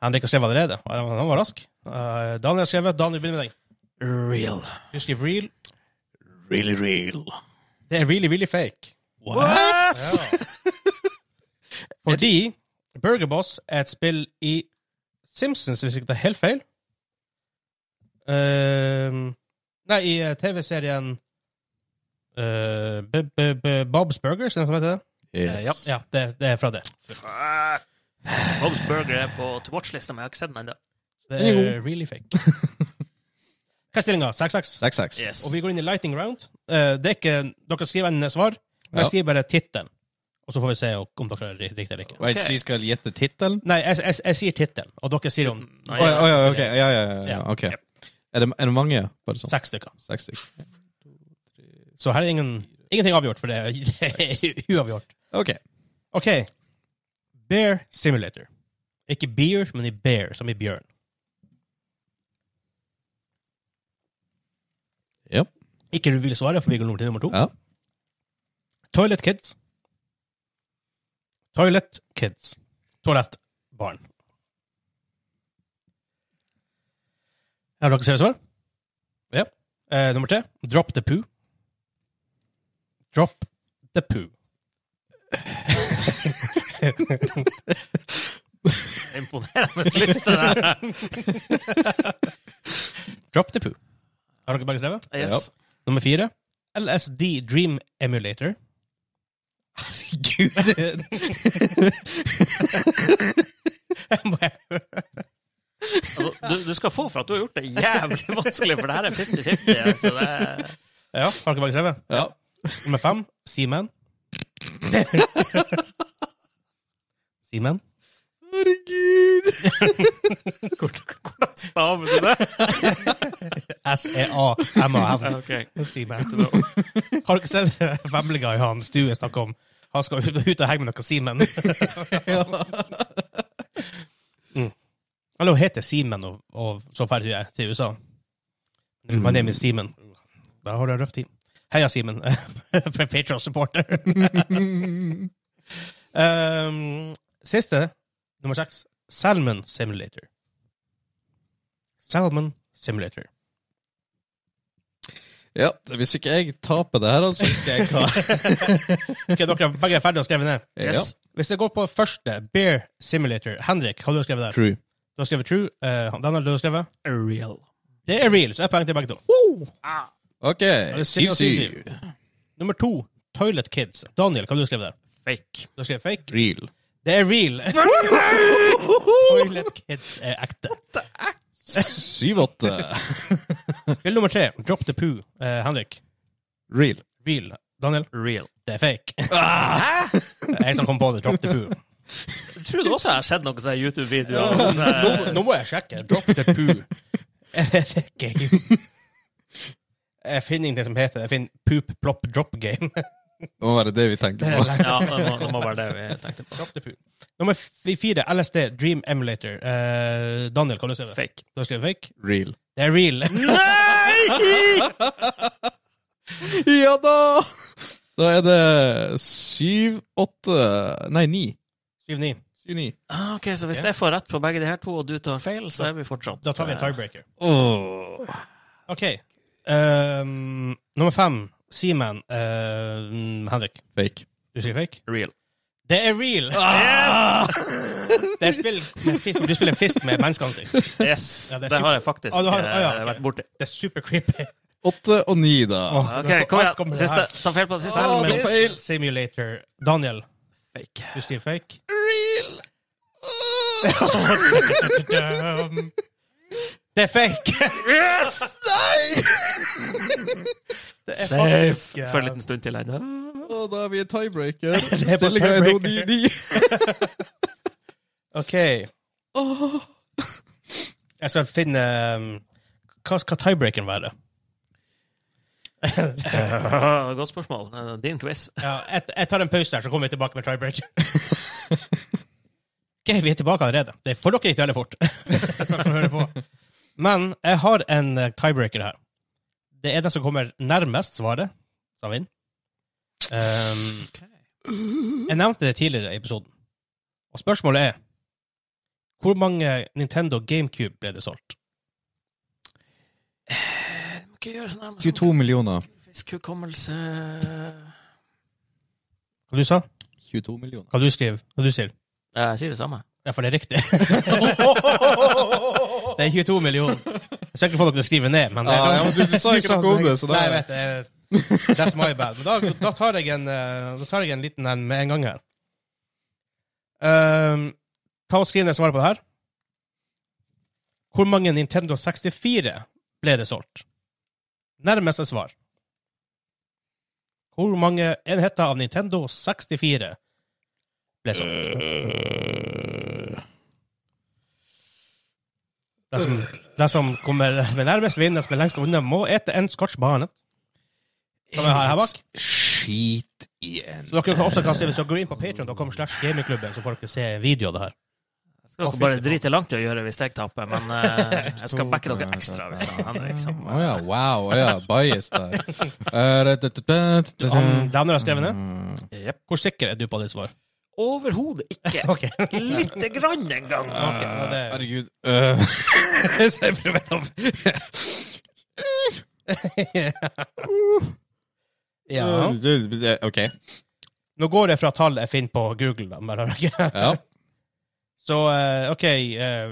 S2: Han har skrevet allerede. Han han var rask. Eh, Daniel har skrevet. Daniel, begynner med deg.
S3: Real.
S2: Du skriver real.
S3: Really real.
S2: Det er really, really fake.
S3: What?
S2: Fordi Burger Boss er et spill i Simpsons, hvis ikke det er helt feil. Ehm, nei, i eh, TV-serien eh, B- B- B- Bob's Burgers, er det som heter det?
S1: Yes.
S3: Ja.
S2: Ja, det, det er fra det.
S3: Fuck. Bob's Burger er på to watch-lista, men jeg har ikke sett den ennå.
S2: Det
S1: Den er
S2: er really fake. Hva er stillinga? 6-6?
S1: 6-6.
S3: Yes.
S2: Og vi går inn i lightning round. Eh, det er ikke, dere skriver en svar, men
S1: Ja.
S2: jeg skriver bare tittelen. Og så får vi se om dere er riktig eller ikke.
S1: Wait,
S3: Ok.
S1: så vi skal gjette tittelen?
S2: Nei, jeg, jeg, jeg sier tittelen, og dere sier om
S3: Nei,
S1: Å ja, å ja, ok.
S2: ja.
S1: Ja, ja, ja, ja.
S2: Ja.
S1: ok. Er det, er det mange? Bare sånn.
S2: seks stykker.
S1: Seks stykker.
S2: Så her er ingen, ingenting avgjort, for det er uavgjort.
S1: Ok.
S2: OK. Bear Simulator. Ikke beer, men i bear, som i bjørn.
S1: Ja.
S2: Ikke du vil svare, for vi går over til nummer to.
S1: Ja.
S2: Toilet Kids. Toilet Kids. Toalettbarn. Har dere seriøse svar? Ja. Eh, nummer tre. Drop the poo. Drop the poo.
S3: Imponerende liste, der.
S2: Drop the poo. Har dere begge skrevet?
S3: Yes.
S2: Nummer fire. LSD Dream Emulator.
S1: Herregud.
S3: Altså, du, du skal få for at du har gjort det jævlig vanskelig, for det her er 50-50. Altså, det er...
S2: ja, har dere begge skrevet?
S1: ja.
S2: Nummer fem, Seaman. Seaman.
S1: Herregud.
S3: Hvordan staver du det?
S2: E S-E-A-M-A-N.
S3: Ok,
S2: Seaman.
S3: så da-
S2: Har dere sett Family Guy, han Stue snakker om? Han skal ut, ut og henge med noen Seaman. mm. Eller hun heter Seaman og, og så ferdig hun er til USA. My name is Seaman. Da har du en røff tid. Heia Seaman. Patriot-supporter. um, siste, nummer seks. Salmon Simulator. Salmon Simulator.
S1: Ja, hvis ikke jeg taper det her, altså, skal jeg hva?
S2: Ok, dere er begge ferdige og skrevet ned.
S3: Yes.
S2: Hvis jeg går på første, Bear Simulator. Henrik, hva har du skrevet
S1: Ja.
S2: der?
S1: True.
S2: Du har skrevet True. Uh, Daniel, du har skrevet?
S3: Real.
S2: Det er real, så jeg har poeng til begge to.
S3: Ah,
S1: Ok,
S2: det er syv, syv,
S1: 7-7.
S2: Nummer to, Toilet Kids. Daniel, hva har du skrevet der?
S3: fake.
S2: Du har skrevet fake.
S1: Real.
S2: Det er real. Toilet Kids er ekte.
S1: 7-8.
S2: Spill nummer tre, Drop the Poo. Eh, Henrik,
S1: Real.
S2: real. Daniel,
S3: Real. Ah,
S2: det er fake. Det er jeg som kom på det. Drop the Poo.
S3: Jeg tror du også jeg har sett noen sånne YouTube-videoer. om, eh,
S2: Nå må jeg sjekke. Drop the Poo. Er det game? Jeg finner ingenting som heter det. Jeg finner Poop Plop Drop Game.
S1: Det må være det vi tenker på.
S3: Ja, det må, det må være det vi tenkte på.
S2: Drop the poo. Nummer f- fire, LSD, Dream Emulator. Eh, Daniel, hva har du skrevet?
S3: Fake.
S2: Du har skrevet fake?
S1: Real.
S2: Det er real.
S3: Nei!
S1: Ja da! Da er det 7-8 Nei, 9.
S2: 7-9.
S1: 7-9.
S3: Ah, Ok, Så hvis jeg får rett på begge de her to, og du tar feil, så er vi fortsatt eh,
S2: Da tar vi en tiebreaker.
S1: Åh.
S2: OK. Ehm, nummer fem, Seaman. Eh, Henrik,
S1: Fake.
S2: du skriver fake?
S3: Real.
S2: Det er real!
S3: Ah!
S2: Yes! Det er spill med fisk. Du spiller en fisk med menneskeansikt.
S3: Yes,
S2: Ja, det er
S3: det,
S2: super-
S3: har jeg faktisk
S2: Ah, du har- ah, ja,
S3: eh,
S2: ok.
S3: vært borti.
S2: Det er super creepy.
S1: Åtte og ni, da.
S2: Åh,
S3: Ok,
S2: nå
S3: kom
S2: alt
S3: igjen.
S2: kommer det
S3: Siste.
S2: her. Ah,
S3: Ta feil på det siste.
S1: Åh,
S3: Men-
S1: det var feil.
S2: Simulator. Daniel,
S3: Fake.
S2: du skriver fake.
S1: Real!
S2: Dum. Det er fake!
S3: Yes!
S1: Nei!
S2: Det er
S3: Safe
S2: faktisk, eh,
S3: for en liten stund til ennå.
S1: Å, da er vi i tiebreaker.
S2: er på
S1: Stillinga er nå
S2: tiebreaker.
S1: 9-9.
S2: OK. Jeg skal finne um, Hva skal tiebreakeren være?
S3: Godt spørsmål. Eh, Din quiz.
S2: Ja, jeg, jeg tar en pause her, så kommer vi tilbake med tiebreaker. OK, vi er tilbake allerede. Det får dere ikke veldig fort. Takk for å høre på. Men jeg har en eh, tiebreaker her. Det er den som kommer nærmest svaret, som vinner. Um, Jeg nevnte det tidligere i episoden. Og spørsmålet er Hvor mange Nintendo GameCube ble det solgt?
S3: Må ikke gjøre sånn her med
S1: 22 millioner.
S3: sånn fiskhukommelse.
S2: Hva du sa?
S1: 22 millioner.
S2: Hva du skriver? Hva du sier?
S3: Ja, Jeg sier det samme.
S2: Ja, for det er riktig. det er 22 millioner. Jeg skal ikke få dere til å skrive ned, men det
S1: Ah, Ja, ja, men du- du sa ikke noe om det, så da-
S2: Nei, jeg vet det. That's my bad. Men da, da, tar jeg en, eh, da tar jeg en liten en med en gang her. Ehm, ta og Skriv ned svaret på det her. Hvor mange Nintendo 64 ble det solgt? Nærmeste svar. Hvor mange enheter av Nintendo 64 ble solgt? Den som, den som kommer med nærmest vinner, som er lengst unna, må ete en scotch banet. Som jeg har her bak.
S1: Skit i en
S2: Så dere kan også kan se, Hvis dere går inn på patreon.com slash gamingklubben, så får dere se en video av det her.
S3: Skal dere bare drite langt i å gjøre hvis jeg taper, men eh, jeg skal backe dere ekstra hvis det er Henrik som
S1: Å ja, wow. Å ja, bias der. Eh, Mm.
S2: Um, det andre har jeg skrevet ned.
S3: Jep.
S2: Hvor sikker er du på ditt svar?
S3: Overhodet ikke.
S2: Ok.
S3: Lite grann engang.
S2: Ok, men det-
S1: Herregud. Eh, så jeg prøver å
S2: ja.
S1: OK.
S2: Nå går det fra tall jeg finner på Google. Da, men,
S1: Ja.
S2: så eh, OK, eh,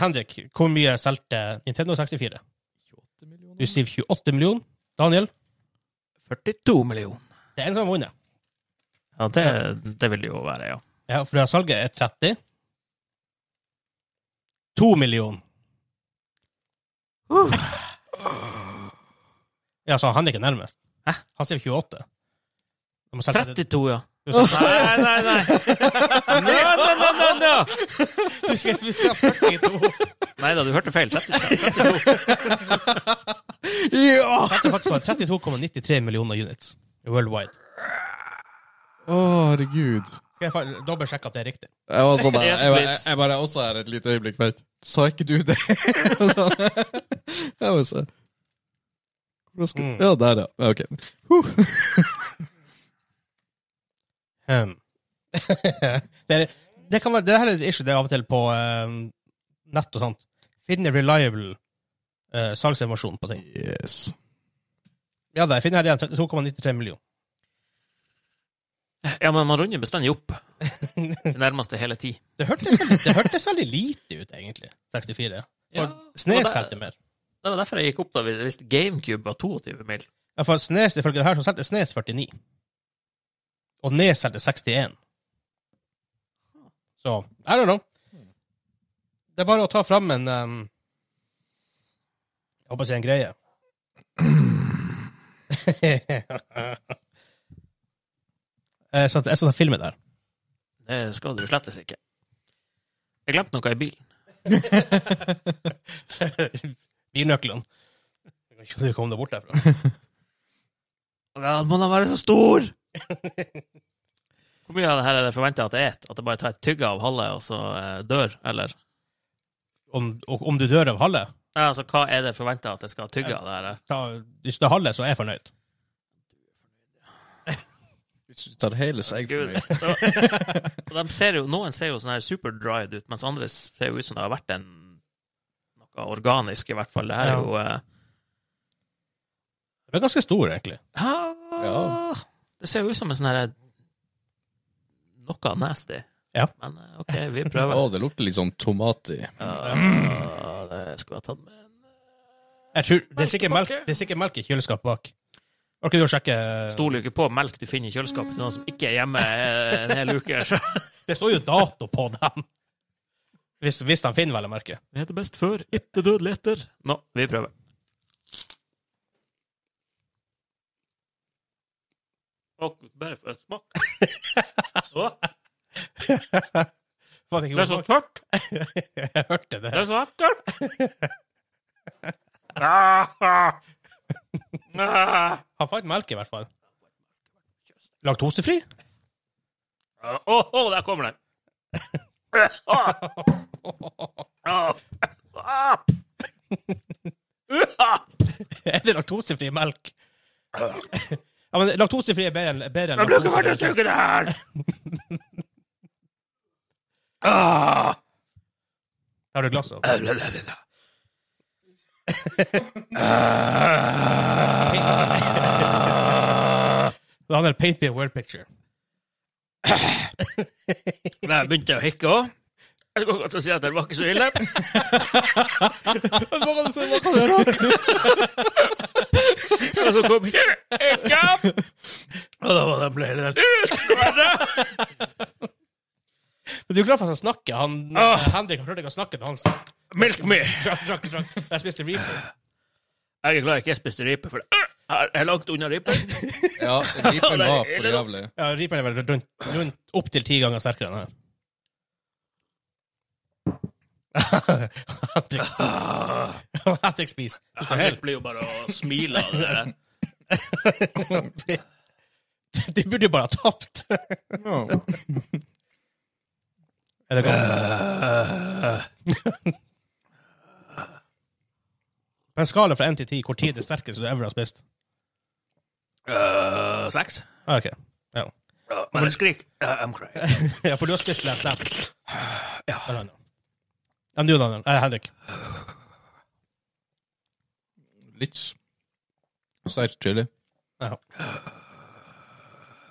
S2: Henrik. Hvor mye solgte Nintendo 64? Du sier 28 millioner. Daniel,
S3: 42 millioner.
S2: det er en som har vunnet.
S3: Ja, det, det vil det jo være, ja.
S2: Ja, for det her salget er 30. 2 millioner. Ja, så han er ikke nærmest.
S3: Hæ?
S2: Han sier 28. De har solgt-
S3: 32, ja.
S2: Du har solgt-
S3: Nei, nei, nei. Nei, nei, nei, nei, nei.
S2: Du skal- du skal ha 42.
S3: Neida, du hørte feil. 32.
S1: ja!
S2: Det er faktisk bare 32,93 millioner units worldwide.
S1: Å, herregud.
S2: Skal jeg fa- dobbeltsjekke at det er riktig?
S1: Jeg var sånn der.
S3: Yes,
S1: Jeg, bare-
S3: please.
S1: jeg bare også her et lite øyeblikk. Vent, sa ikke du det? Og sånn. jeg var sånn Hvordan skal
S2: Mm.
S1: Ja, der, ja. Ja, OK.
S2: Hmm. det, er, det kan være, det her er et issue det er av og til på eh, nett og sånt. Finne reliable uh, salgsinformasjon på ting.
S1: Yes.
S2: Ja, da, jeg finner her igjen 32,93 millioner.
S3: Ja, men man runder bestandig opp. Det nærmeste hele tid.
S2: Det hørtes veldig, det hørtes veldig lite ut, egentlig. 64.
S3: Ja,
S2: For Snes solgte mer.
S3: Det var derfor jeg gikk opp da, hvis GameCube var 22 mil.
S2: Ja, for Snes, ifølge det her, så solgte Snes 49. Og Nes solgte 61. Så I don't know. Det er bare å ta fram en um, Jeg håper å si en greie. Eh, så at- jeg skal ta filmen der.
S3: Det skal du slettes ikke. Jeg glemte noe i bilen.
S2: Bilnøklene. Jeg vet ikke om du kom deg bort derfra.
S3: Ja, må da være så stor! Hvor mye av det her er det forventa at jeg et? At jeg bare tar et tygge av halve og så eh, dør, eller?
S2: Om, og om du dør av halve?
S3: Ja, altså, hva er det forventa at jeg skal tygge av det her?
S2: ta, hvis det er halve, så er jeg fornøyd.
S1: Hvis du tar hele, så er jeg
S3: Gud.
S1: fornøyd.
S3: Og De ser jo, noen ser jo sånn her superdried ut, mens andre ser jo ut som det har vært en noe organisk, i hvert fall. Det her
S2: Ja.
S3: er jo eh,
S2: Den er ganske stor, egentlig.
S3: ah,
S1: Ja.
S3: Det ser jo ut som en sånn her noe nasty.
S2: Ja.
S3: Men eh, OK, vi
S1: Å,
S3: prøver.
S1: det lukter litt sånn tomat i.
S3: Ja, det skulle jeg tatt med.
S2: Jeg tror, det, er sikkert melk,
S3: Melkepakke?
S2: det er sikkert melk i kjøleskapet bak. Orker du å sjekke
S3: Stoler jo ikke på melk du finner i kjøleskapet til noen som ikke er hjemme eh, en hel uke. Så.
S2: Det står jo dato på dem! Hvis, hvis de finner, vel å merke.
S3: Det heter best før, ikke dødelig etter. Nå, vi prøver. Og bare for en smak. Å,
S2: Faen, ikke
S3: Det er så
S2: god smak.
S3: tørt.
S2: Jeg hørte det.
S3: Det er så ekkelt. Ah, ah. Ah.
S2: Han fant melk, i hvert fall. Laktosefri?
S3: Å, å, der kommer den. Ah. Ah. Ah. Ah.
S2: Er det laktosefri melk? Ja, men Laktosefri er bedre enn bedre enn
S3: Jeg bruker hvert å
S2: laktosefri.
S3: suge det her! Ah.
S2: Har du glass av? Det handler om Paint Me a World Picture.
S3: Men jeg begynte å hikke òg. Jeg skulle godt til å si at det var ikke så ille. Og så kom Ikke! Og da var det ble hele den
S2: Men du er glad for at han snakker. Han,
S3: Åh.
S2: Henrik har prøvd ikke å snakke til Hansen.
S3: Milk me!
S2: Drakk, drakk, drakk. Jeg spiste reaper.
S3: Jeg er glad jeg ikke spiste ripe, for jeg er langt unna ripe.
S1: Ja, ripen var for jævlig.
S2: Ja, reaperen er vel rundt, rundt opptil ti ganger sterkere enn her. Henrik,
S3: Ah.
S2: Henrik spiser. Du skal
S3: Henrik
S2: helt
S3: blir jo bare å smile av det der.
S2: Du burde jo bare ha tapt.
S1: Ja.
S2: Er det godt? På en skala fra 1 til 10, hvor tid er det sterkeste du ever har spist?
S3: Eh, Sex?
S2: Ah, ok. Ja.
S3: Ja, Men jeg skrik. Eh, I'm crying.
S2: ja, for du har spist lett lett. Ja. Daniel. Enn du, Daniel? Eh, Henrik.
S1: Litt sterk chili.
S2: Ja.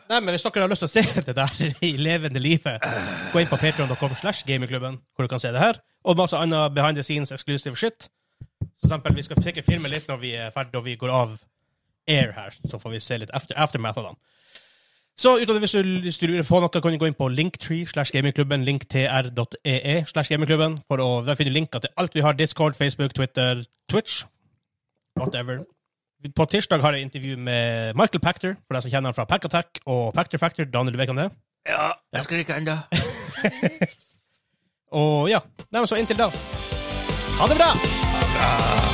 S2: Nei, men Hvis dere har lyst til å se det der i levende livet, gå inn på patreon.com slash gamingklubben, hvor du kan se det her. Og masse annet behind the scenes exclusive shit. For eksempel, vi skal sikkert filme litt når vi er ferdig og vi går av air her, så får vi se litt after, aftermath av dem. Så utover hvis du, hvis du lurer på noe, kan du gå inn på linktree slash gamingklubben, linktr.ee slash gamingklubben, for å der finner du linker til alt vi har, Discord, Facebook, Twitter, Twitch, whatever. På tirsdag har jeg intervju med Michael Pactor, for deg som kjenner han fra Pack Attack og Pactor Factor. Daniel, du vet om det?
S3: Ja, jeg skriker ennå.
S2: Og ja. Nei, men så inntil da. Ha det bra!